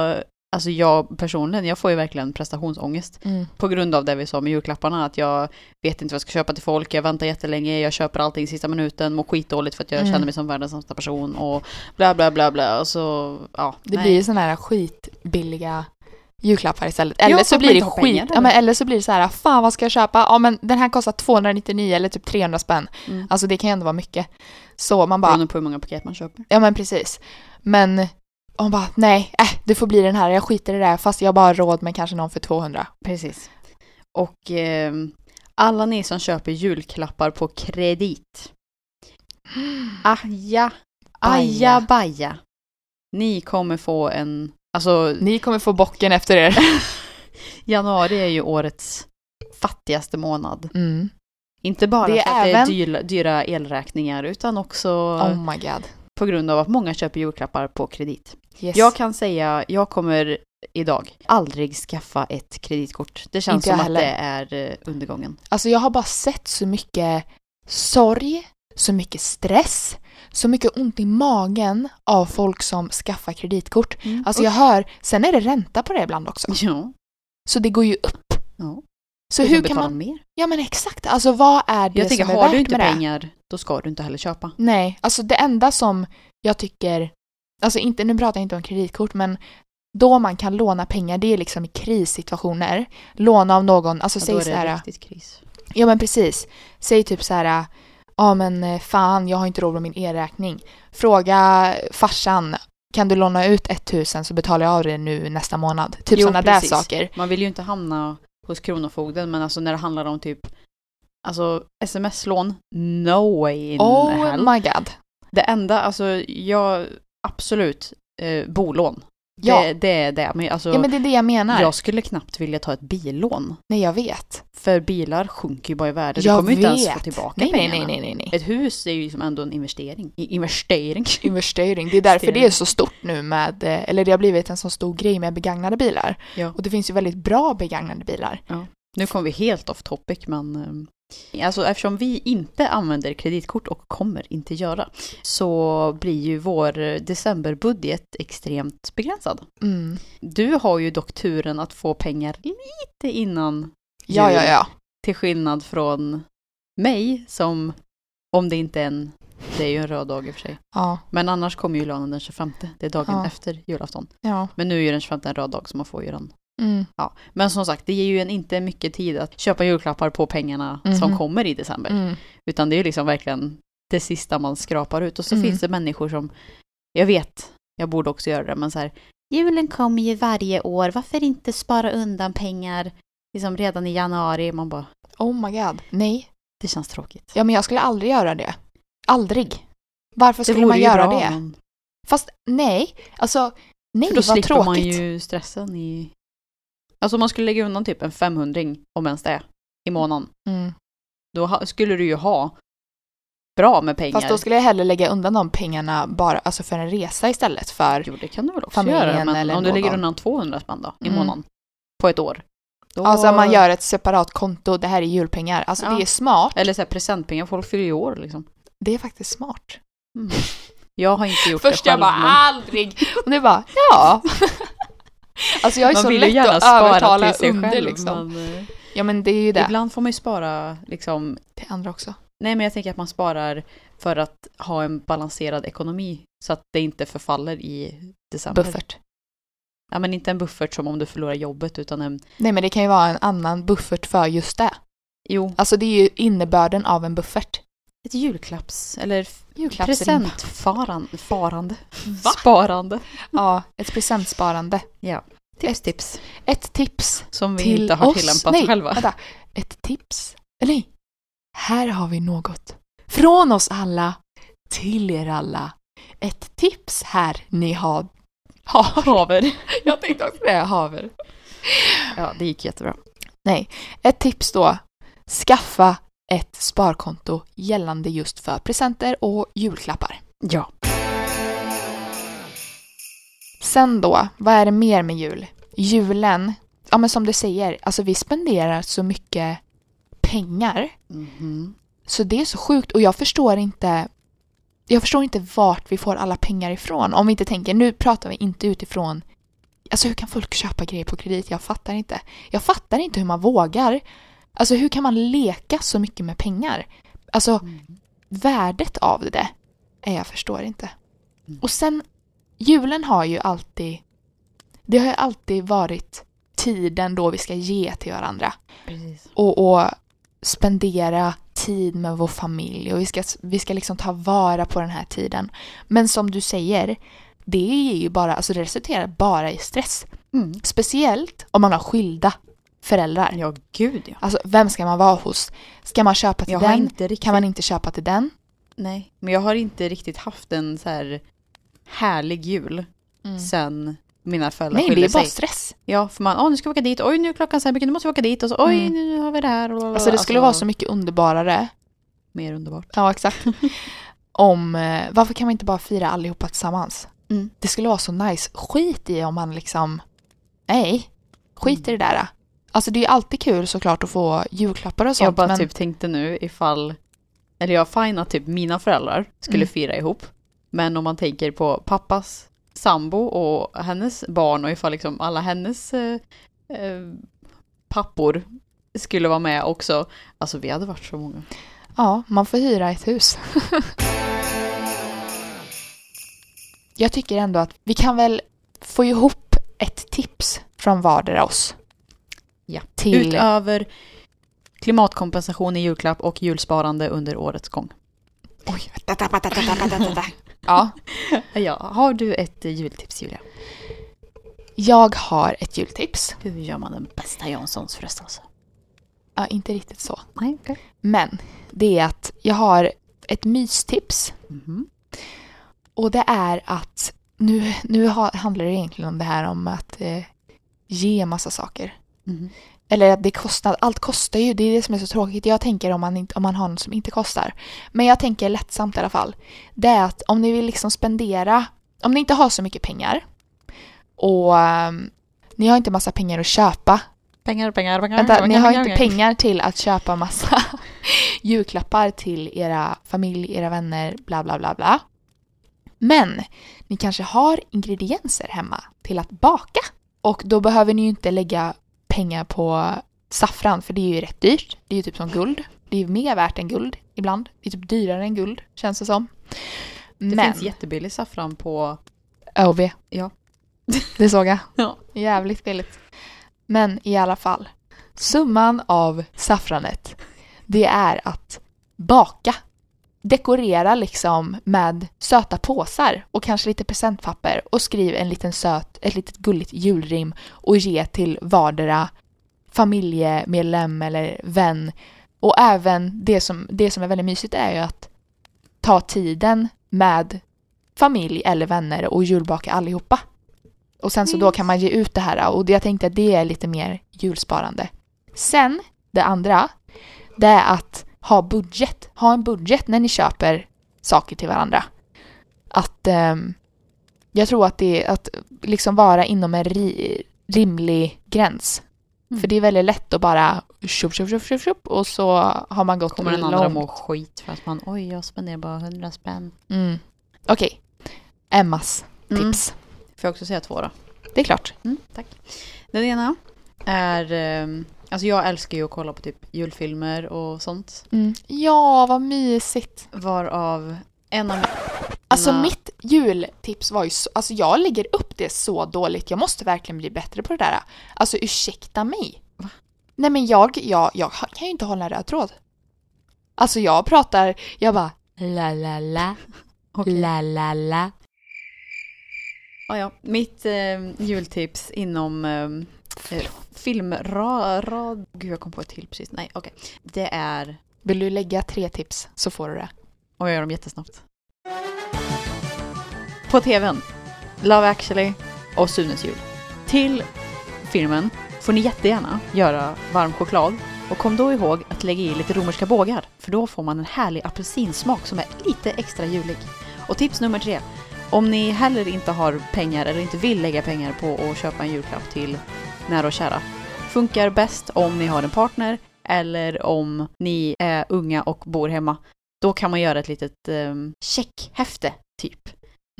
Speaker 1: alltså jag personligen, jag får ju verkligen prestationsångest
Speaker 2: Mm.
Speaker 1: på grund av det vi sa med julklapparna. Att jag vet inte vad jag ska köpa till folk, jag väntar jättelänge, jag köper allting i sista minuten, mår skitdåligt för att jag
Speaker 2: Mm.
Speaker 1: känner mig som världens sämsta person och bla bla bla bla. Och så, ja.
Speaker 2: Det
Speaker 1: nej.
Speaker 2: blir ju sådana här skitbilliga julklappar istället. Eller
Speaker 1: Ja,
Speaker 2: så
Speaker 1: fast
Speaker 2: blir
Speaker 1: man
Speaker 2: det
Speaker 1: inte har pengar,
Speaker 2: skit...
Speaker 1: eller?
Speaker 2: Ja, men, eller så blir det så här, fan vad ska jag köpa? Ja men den här kostar 299 eller typ 300 spänn.
Speaker 1: Mm.
Speaker 2: Alltså det kan ju ändå vara mycket. Så man bara,
Speaker 1: Beroende på hur många paket man köper.
Speaker 2: Ja men precis. Men hon bara nej, äh, det får bli den här, jag skiter i det här fast jag bara har råd med kanske någon för 200.
Speaker 1: Precis. Och ehm, alla ni som köper julklappar på kredit. Aja, aja baja. Ni kommer få en, alltså
Speaker 2: Ni kommer få bocken efter er.
Speaker 1: Januari är ju årets fattigaste månad.
Speaker 2: Mm.
Speaker 1: Inte bara
Speaker 2: Det är
Speaker 1: för att det är
Speaker 2: även-
Speaker 1: dyra, dyra elräkningar utan också
Speaker 2: Oh my god.
Speaker 1: på grund av att många köper julklappar på kredit.
Speaker 2: Yes.
Speaker 1: Jag kan säga, jag kommer idag aldrig skaffa ett kreditkort. Det känns
Speaker 2: Inte jag
Speaker 1: som att
Speaker 2: heller.
Speaker 1: det är eh, undergången.
Speaker 2: Alltså jag har bara sett så mycket sorg, så mycket stress, så mycket ont i magen av folk som skaffar kreditkort. Alltså jag hör, sen är det ränta på det ibland också.
Speaker 1: Ja.
Speaker 2: Så det går ju upp.
Speaker 1: ja.
Speaker 2: Så
Speaker 1: Du
Speaker 2: hur kan
Speaker 1: betala
Speaker 2: man...
Speaker 1: mer?
Speaker 2: Ja men exakt, alltså vad är det
Speaker 1: Jag tänker,
Speaker 2: som är
Speaker 1: har
Speaker 2: värt
Speaker 1: du inte
Speaker 2: med det?
Speaker 1: pengar, då ska du inte heller köpa.
Speaker 2: Nej, alltså det enda som jag tycker, alltså inte, nu pratar jag inte om kreditkort men då man kan låna pengar det är liksom i krissituationer. Låna av någon,
Speaker 1: Ja,
Speaker 2: alltså
Speaker 1: då
Speaker 2: säg
Speaker 1: är
Speaker 2: så
Speaker 1: det
Speaker 2: här,
Speaker 1: riktigt kris.
Speaker 2: ja men precis, säg typ så här, ja men eh, fan jag har inte råd med min elräkning. Fråga farsan, kan du låna ut 1000 så betalar jag av det nu nästa månad. Typ
Speaker 1: Jo,
Speaker 2: sådana där
Speaker 1: precis.
Speaker 2: saker.
Speaker 1: Man vill ju inte hamna hos Kronofogden, men alltså när det handlar om typ Alltså sms-lån, no way in
Speaker 2: Oh
Speaker 1: hell.
Speaker 2: my god.
Speaker 1: Det enda, alltså jag, absolut, eh, bolån.
Speaker 2: Ja.
Speaker 1: Det, det är det. Men alltså,
Speaker 2: Ja men det är det jag menar.
Speaker 1: jag skulle knappt vilja ta ett billån.
Speaker 2: Nej jag vet.
Speaker 1: För bilar sjunker ju bara i värde.
Speaker 2: jag
Speaker 1: du kommer ju
Speaker 2: vet.
Speaker 1: inte ens få tillbaka
Speaker 2: nej, nej,
Speaker 1: pengarna.
Speaker 2: nej, nej, nej, nej.
Speaker 1: Ett hus är ju liksom ändå en investering. I- Investering.
Speaker 2: investering. Det är därför
Speaker 1: Investering.
Speaker 2: det är så stort nu med, eh, eller det har blivit en så stor grej med begagnade bilar.
Speaker 1: Ja.
Speaker 2: Och det finns ju väldigt bra begagnade bilar.
Speaker 1: Nu kom vi helt off topic men... ehm, Alltså eftersom vi inte använder kreditkort och kommer inte göra så blir ju vår decemberbudget extremt begränsad.
Speaker 2: Mm.
Speaker 1: Du har ju dock turen att få pengar lite innan
Speaker 2: Ja, ja, ja.
Speaker 1: till skillnad från mig som, om det inte är en, det är ju en röd dag i och för sig,
Speaker 2: Ja,
Speaker 1: men annars kommer ju lönen den 25, det är dagen
Speaker 2: Ja.
Speaker 1: efter julafton.
Speaker 2: ja.
Speaker 1: Men nu är ju den 25 en röd dag så man får ju den.
Speaker 2: Mm.
Speaker 1: Ja. Men som sagt, det ger ju en inte mycket tid att köpa julklappar på pengarna som
Speaker 2: Mhm.
Speaker 1: kommer i december.
Speaker 2: Mm.
Speaker 1: Utan det är ju liksom verkligen det sista man skrapar ut. Och så
Speaker 2: Mm.
Speaker 1: finns det människor som, jag vet, jag borde också göra det, men så här, julen kommer ju varje år, varför inte spara undan pengar liksom redan i januari? Man bara,
Speaker 2: Oh my god. Nej.
Speaker 1: det känns tråkigt.
Speaker 2: Ja, men jag skulle aldrig göra det. Aldrig. Varför skulle
Speaker 1: vore
Speaker 2: man
Speaker 1: ju
Speaker 2: göra
Speaker 1: bra,
Speaker 2: det?
Speaker 1: men-
Speaker 2: Fast nej. Alltså, nej
Speaker 1: För då
Speaker 2: vad
Speaker 1: slipper
Speaker 2: tråkigt.
Speaker 1: man ju stressen i... Alltså om man skulle lägga undan typ en 500 om ens det, i månaden.
Speaker 2: Mm.
Speaker 1: Då ha, skulle du ju ha bra med pengar.
Speaker 2: Fast då skulle jag hellre lägga undan de pengarna bara alltså för en resa istället för...
Speaker 1: Jo, det kan du väl också
Speaker 2: Familjen
Speaker 1: göra. Men
Speaker 2: eller
Speaker 1: om du lägger
Speaker 2: någon.
Speaker 1: undan 200 spänn då, i
Speaker 2: Mm.
Speaker 1: månaden. På ett år. Då...
Speaker 2: Alltså man gör ett separat konto, det här är julpengar. Alltså
Speaker 1: Ja.
Speaker 2: det är smart.
Speaker 1: Eller så här presentpengar, folk fyller ju år liksom.
Speaker 2: Det är faktiskt smart.
Speaker 1: Mm. Jag "Ah!" har inte gjort
Speaker 2: Först
Speaker 1: det
Speaker 2: jag
Speaker 1: själv.
Speaker 2: bara
Speaker 1: men...
Speaker 2: aldrig. Och nu bara
Speaker 1: (laughs)
Speaker 2: ja. Alltså jag är
Speaker 1: Man
Speaker 2: så
Speaker 1: vill ju
Speaker 2: lätt
Speaker 1: gärna
Speaker 2: att
Speaker 1: spara
Speaker 2: övertala
Speaker 1: till sig
Speaker 2: under
Speaker 1: själv.
Speaker 2: liksom.
Speaker 1: men, eh,
Speaker 2: Ja men det är ju det.
Speaker 1: Ibland får man ju spara liksom
Speaker 2: Till andra också.
Speaker 1: Nej, men jag tänker att man sparar för att ha en balanserad ekonomi så att det inte förfaller i december.
Speaker 2: Buffert.
Speaker 1: Ja, men inte en buffert som om du förlorar jobbet utan en...
Speaker 2: Nej men det kan ju vara en annan buffert för just det.
Speaker 1: Jo,
Speaker 2: Alltså det är ju innebörden av en buffert.
Speaker 1: ett julklapps eller
Speaker 2: Julklappsrim.
Speaker 1: presentfarande. Farande. Sparande.
Speaker 2: (laughs) Ja, ett presentsparande.
Speaker 1: Tips, tips.
Speaker 2: Ett tips
Speaker 1: Som vi
Speaker 2: till
Speaker 1: inte har
Speaker 2: oss.
Speaker 1: tillämpat
Speaker 2: Nej,
Speaker 1: själva. (laughs)
Speaker 2: Vänta. Ett tips. Eller nej. Här har vi något. Från oss alla till er alla. Ett tips här
Speaker 1: (laughs)
Speaker 2: ni har.
Speaker 1: Haver.
Speaker 2: Jag tänkte också det, haver.
Speaker 1: Ja, det gick jättebra.
Speaker 2: Ett tips då. Skaffa ett sparkonto gällande just för presenter och julklappar.
Speaker 1: Ja.
Speaker 2: Sen då, vad är det mer med jul? Julen, ja men som du säger, alltså vi spenderar så mycket pengar.
Speaker 1: Mhm.
Speaker 2: Så det är så sjukt och jag förstår inte jag förstår inte vart vi får alla pengar ifrån. Om vi inte tänker, nu pratar vi inte utifrån Alltså hur kan folk köpa grejer på kredit? Jag fattar inte. Jag fattar inte hur man vågar. Alltså hur kan man leka så mycket med pengar? Alltså värdet av det, är jag förstår inte.
Speaker 1: Mm.
Speaker 2: Och sen, julen har ju alltid, det har ju alltid varit tiden då vi ska ge till varandra
Speaker 1: Precis.
Speaker 2: och, och spendera tid med vår familj och vi ska, vi ska liksom ta vara på den här tiden. Men som du säger, det är ju bara, alltså det resulterar bara i stress.
Speaker 1: Mm.
Speaker 2: Speciellt om man har skilda föräldrar.
Speaker 1: Ja, gud ja. Alltså,
Speaker 2: Alltså vem ska man vara hos? Ska man köpa till
Speaker 1: Jag har
Speaker 2: den?
Speaker 1: inte riktigt...
Speaker 2: Kan man inte köpa till den?
Speaker 1: Nej, men jag har inte riktigt haft en så här härlig jul. sen mina föräldrar
Speaker 2: Nej, det
Speaker 1: skilde
Speaker 2: är bara
Speaker 1: Mm. sig.
Speaker 2: stress.
Speaker 1: Ja, för man, åh nu ska vi åka dit, oj nu är klockan så här mycket, nu måste vi åka dit och så oj
Speaker 2: Mm.
Speaker 1: nu har vi det här. Och,
Speaker 2: Alltså det skulle vara så mycket underbarare.
Speaker 1: Mer underbart.
Speaker 2: Ja, exakt. (laughs) om, eh, varför kan man inte bara fira allihopa tillsammans?
Speaker 1: Mm.
Speaker 2: Det skulle vara så nice. Skit i om man liksom, nej, skit
Speaker 1: Mm.
Speaker 2: i det där. Alltså det är ju alltid kul såklart att få julklappar och sånt.
Speaker 1: jag bara
Speaker 2: men,
Speaker 1: typ tänkte nu ifall, eller jag fine att typ mina föräldrar skulle
Speaker 2: Mm.
Speaker 1: fira ihop. Men om man tänker på pappas sambo och hennes barn och ifall liksom alla hennes eh, eh, pappor skulle vara med också. Alltså vi hade varit så många.
Speaker 2: Ja, man får hyra
Speaker 1: (laughs)
Speaker 2: ett hus. jag tycker ändå att vi kan väl få ihop ett tips från vardera oss.
Speaker 1: Ja.
Speaker 2: Till,
Speaker 1: Utöver klimatkompensation i julklapp och julsparande under årets gång.
Speaker 2: Oj, ja,
Speaker 1: Ja, har du ett eh, jultips Julia?
Speaker 2: jag har ett jultips.
Speaker 1: Hur gör man den bästa Janssons frestelse?
Speaker 2: Ja, inte riktigt så.
Speaker 1: Nej, okej.
Speaker 2: Men det är att jag har ett mystips
Speaker 1: Mhm.
Speaker 2: och det är att nu, nu ha- handlar det egentligen om det här om att eh, ge massa saker.
Speaker 1: Mhm.
Speaker 2: Eller att det kostar, allt kostar ju, det är det som är så tråkigt. Jag tänker om man, inte, om man har något som inte kostar. Men jag tänker lättsamt i alla fall. Det är att om ni vill liksom spendera, om ni inte har så mycket pengar och ehm, ni har inte massa pengar att köpa
Speaker 1: Pengar, pengar, pengar.
Speaker 2: Vänta,
Speaker 1: pengar,
Speaker 2: ni har
Speaker 1: pengar,
Speaker 2: inte pengar till att köpa massa (laughs) julklappar till era familj, era vänner, bla bla bla bla. Men ni kanske har ingredienser hemma till att baka. Och då behöver ni ju inte lägga pengar på saffran för det är ju rätt dyrt. Det är ju typ som guld. Det är ju mer värt än guld ibland. Det är typ dyrare än guld känns det som.
Speaker 1: Det
Speaker 2: Men
Speaker 1: finns jättebillig saffran på...
Speaker 2: ÖoB.
Speaker 1: Ja.
Speaker 2: Det såg jag.
Speaker 1: (laughs) Ja.
Speaker 2: Jävligt billigt. Men i alla fall. Summan av saffranet det är att baka. Dekorera liksom med söta påsar och kanske lite presentpapper och skriv en liten söt, ett litet gulligt julrim och ge till vardera familjemedlem eller vän. Och även det som, det som är väldigt mysigt är ju att ta tiden med familj eller vänner och julbaka allihopa. Och sen så då kan man ge ut det här och jag tänkte att det är lite mer julsparande. Sen, det andra, det är att ha budget. Ha en budget när ni köper saker till varandra. Att ehm, jag tror att det är att liksom vara inom en ri, rimlig gräns.
Speaker 1: Mm.
Speaker 2: För det är väldigt lätt att bara tjup, tjup, tjup, tjup, tjup, och så har man gått
Speaker 1: Kommer den andra
Speaker 2: långt.
Speaker 1: må skit för att man oj jag spenderar bara 100 spänn.
Speaker 2: Mm. Okej. Emmas
Speaker 1: Mm.
Speaker 2: tips.
Speaker 1: Får jag också säga två då?
Speaker 2: Det är klart.
Speaker 1: Mm, tack. Den ena är... ehm, Alltså jag älskar ju att kolla på typ julfilmer och sånt.
Speaker 2: Ja, vad mysigt.
Speaker 1: Varav en av...
Speaker 2: Alltså
Speaker 1: Nej.
Speaker 2: mitt jultips var ju så, alltså jag lägger upp det så dåligt. Jag måste verkligen bli bättre på det där. Alltså ursäkta mig. Nej men jag, jag, jag kan ju inte hålla en röd tråd. Alltså jag pratar, jag bara la la la,
Speaker 1: Okej.
Speaker 2: la la la.
Speaker 1: Ja, ja. Mitt eh, jultips inom ehm, eh, filmrad... Gud, jag kom på ett till precis. Nej, okej. Det är...
Speaker 2: Vill du lägga tre tips så får du det.
Speaker 1: Och jag gör dem jättesnabbt. På tvn. Love actually och Sunes jul. Till filmen får ni jättegärna göra varm choklad. Och kom då ihåg att lägga i lite romerska bågar. För då får man en härlig apelsinsmak som är lite extra julig. Och tips nummer tre. Om ni heller inte har pengar eller inte vill lägga pengar på att köpa en julklapp till nära och kära. Funkar bäst om ni har en partner eller om ni är unga och bor hemma. Då kan man göra ett litet ehm, checkhäfte typ.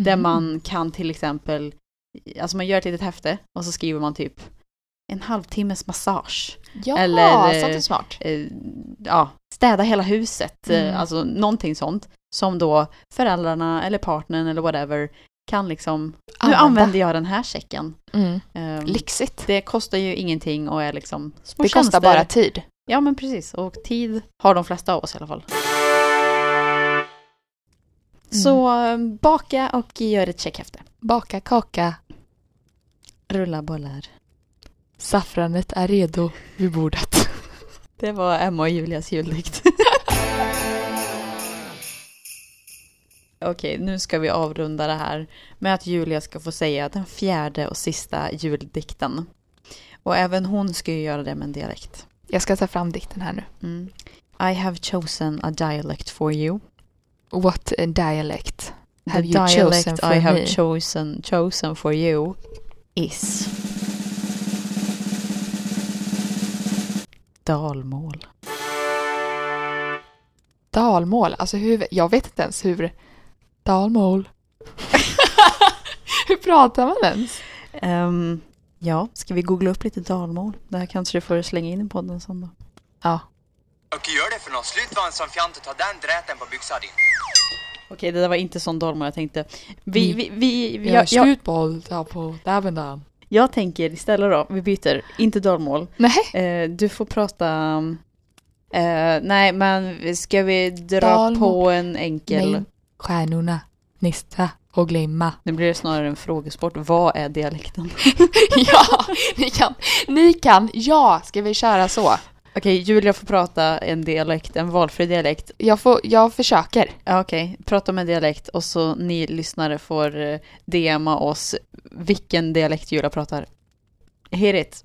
Speaker 1: Där
Speaker 2: Mm.
Speaker 1: man kan till exempel, alltså man gör ett litet häfte och så skriver man typ en halvtimmes massage.
Speaker 2: Ja,
Speaker 1: eller-
Speaker 2: sånt är smart.
Speaker 1: Eh, ja, städa hela huset, eh,
Speaker 2: Mm.
Speaker 1: alltså någonting sånt. Som då föräldrarna eller partnern eller whatever kan liksom, nu använder jag den här checken.
Speaker 2: Mm.
Speaker 1: Ehm,
Speaker 2: Lyxigt.
Speaker 1: det kostar ju ingenting och är liksom små
Speaker 2: Det kostar
Speaker 1: tjänster.
Speaker 2: bara tid.
Speaker 1: Ja men precis, och tid har de flesta av oss i alla fall. Så eh, baka och gör ett checkhäfte.
Speaker 2: Baka kaka,
Speaker 1: Rulla bollar.
Speaker 2: saffranet är redo vid bordet.
Speaker 1: Det var Emma och Julias (laughs) juldikt. Okej, nu ska vi avrunda det här med att Julia ska få säga den fjärde och sista juldikten. Och även hon ska ju göra det med en dialekt.
Speaker 2: Jag ska ta fram dikten här nu.
Speaker 1: Mm. I have chosen a dialect for you.
Speaker 2: What a dialect
Speaker 1: The
Speaker 2: have you
Speaker 1: dialect
Speaker 2: chosen
Speaker 1: I
Speaker 2: for
Speaker 1: have
Speaker 2: me?
Speaker 1: chosen, chosen for you is... Dalmål.
Speaker 2: Dalmål, alltså hur, jag vet inte ens hur... (laughs) Dalmål. hur pratar man ens?
Speaker 1: Ehm, ja, ska vi googla upp lite dalmål? Det här kanske du får slänga in i podden sen då.
Speaker 2: Ja.
Speaker 4: Och gör det för något? Slut vara en sån fjant och ta den dräten på byxan din.
Speaker 1: Okej, det där var inte sån dalmål jag tänkte. Vi, vi, vi, vi,
Speaker 2: Jag
Speaker 1: Mm. jag, jag,
Speaker 2: skjutboll där på Davendan.
Speaker 1: jag tänker istället då, vi byter, inte dalmål.
Speaker 2: Nej,
Speaker 1: Eh, du får prata... eh, nej, men ska vi dra
Speaker 2: Dalmål.
Speaker 1: på en enkel...
Speaker 2: nej. Stjärnorna gnistra och glimma.
Speaker 1: Nu blir det snarare en frågesport. Vad är dialekten?
Speaker 2: (laughs)
Speaker 1: (laughs)
Speaker 2: ja, ni kan, ni kan, ja, ska vi köra så?
Speaker 1: Okej, Julia får prata en dialekt, en valfri dialekt.
Speaker 2: Jag, får, jag försöker.
Speaker 1: Ja, Okej, prata om en dialekt och så ni lyssnare får eh, DMa oss vilken dialekt Julia pratar. Hit it.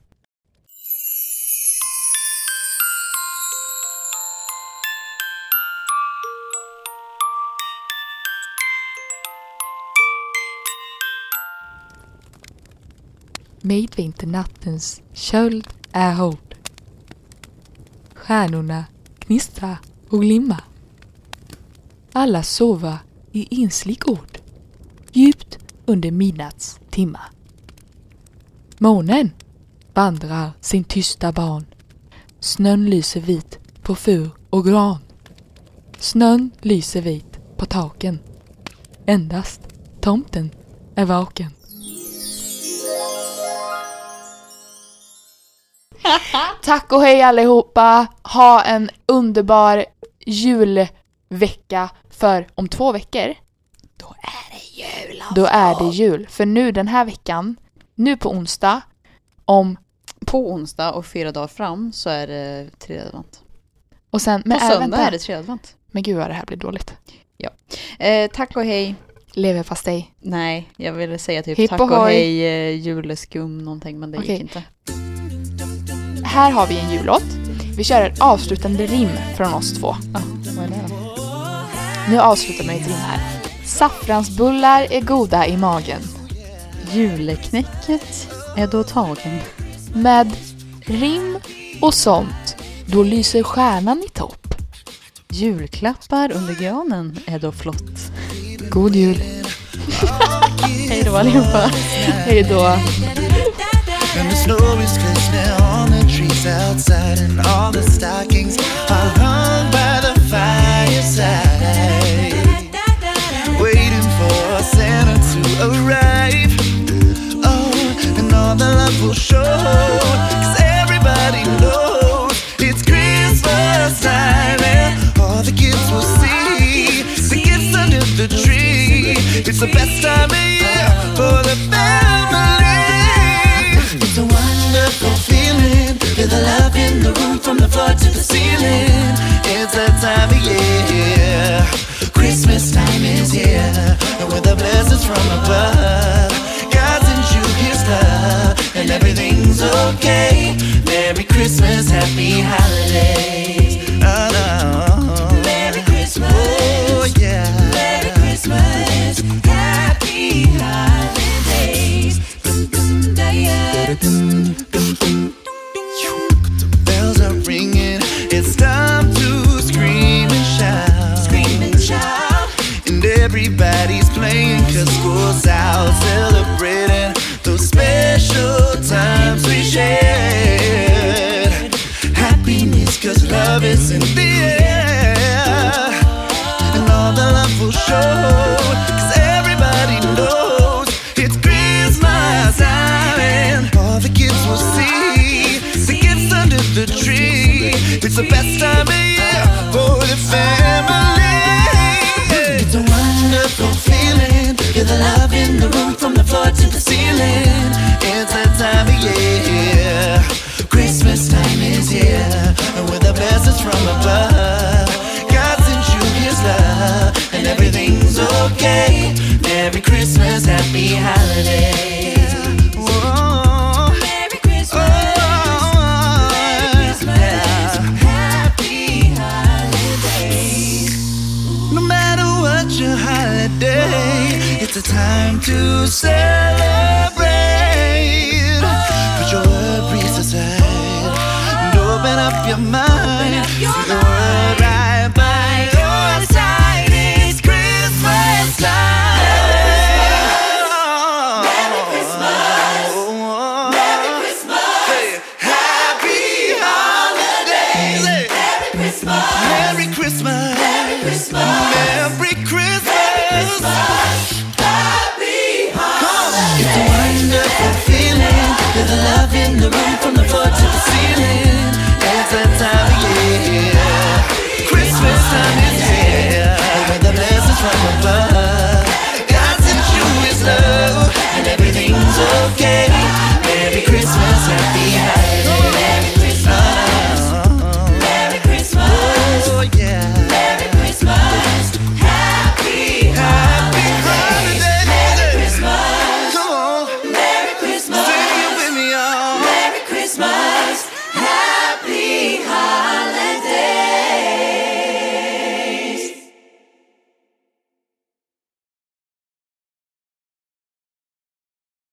Speaker 2: Midvinternattens köld är hård. Stjärnorna gnistra och glimma. Alla sova i inslig ord, djupt under midnatts timma. Månen vandrar sin tysta ban. Snön lyser vit på fur och gran. Snön lyser vit på taken. Endast tomten är vaken. Tack och hej allihopa! Ha en underbar julvecka för om två veckor då är det jul. För nu den här veckan, nu på onsdag, om
Speaker 1: På onsdag och fyra dagar fram så är det tredjedvant.
Speaker 2: och sen...
Speaker 1: På
Speaker 2: Men, äh,
Speaker 1: söndag
Speaker 2: vänta.
Speaker 1: är det tredjedvant.
Speaker 2: men gud vad det här blir dåligt.
Speaker 1: Eh, tack och hej.
Speaker 2: Leverpastej.
Speaker 1: Nej, jag ville säga typ
Speaker 2: Hipp
Speaker 1: tack
Speaker 2: och
Speaker 1: och
Speaker 2: hoj.
Speaker 1: hej eh, juleskum någonting men det
Speaker 2: Okej.
Speaker 1: gick inte.
Speaker 2: Här har vi en jullåt. Vi kör ett avslutande rim från oss två.
Speaker 1: Vad är det då?
Speaker 2: Nu avslutar man ett rim här. Saffransbullar är goda i magen.
Speaker 1: Juleknäcket är då tagen.
Speaker 2: Med rim och sånt, då lyser stjärnan i topp.
Speaker 1: Julklappar under granen är då flott.
Speaker 2: God jul.
Speaker 1: Hej då allihopa.
Speaker 2: Hej då.
Speaker 5: And the snow is glistening on the trees outside, and all the stockings are hung by the fireside. Waiting for Santa to arrive. Oh, and all the love will show. Cause everybody knows it's Christmas time, and all the kids will see the gifts under the tree. It's the best time of year for the family. It's a wonderful feeling. Feel the love in the room from the floor to the ceiling. It's that time of year. Christmas time is here. And with the blessings from above, God sends you his love. And everything's okay. Merry Christmas, happy holidays. Oh, Merry Christmas. Oh, yeah. Merry Christmas. Happy holidays. Bells are ringing. It's time to scream and shout. Scream and shout. And everybody's playing 'cause school's out celebrating those special times we shared. Happiness 'cause love is in the air and all the love will show. Cause everybody knows it's Christmas time, and all the kids will see the gifts under the tree. It's the best time of year for the family. It's a wonderful feeling. Feel the love in the room from the floor to the ceiling. It's that time of year. Christmas time is here, and with the blessings from above, God sends you His love, and everything's okay. Merry Christmas, Happy Holidays. Oh, Whoa. Merry Christmas. Merry Christmas. Happy Holidays. No matter what your holiday, it's a time to celebrate. Put your worries aside and open up your mind. See the world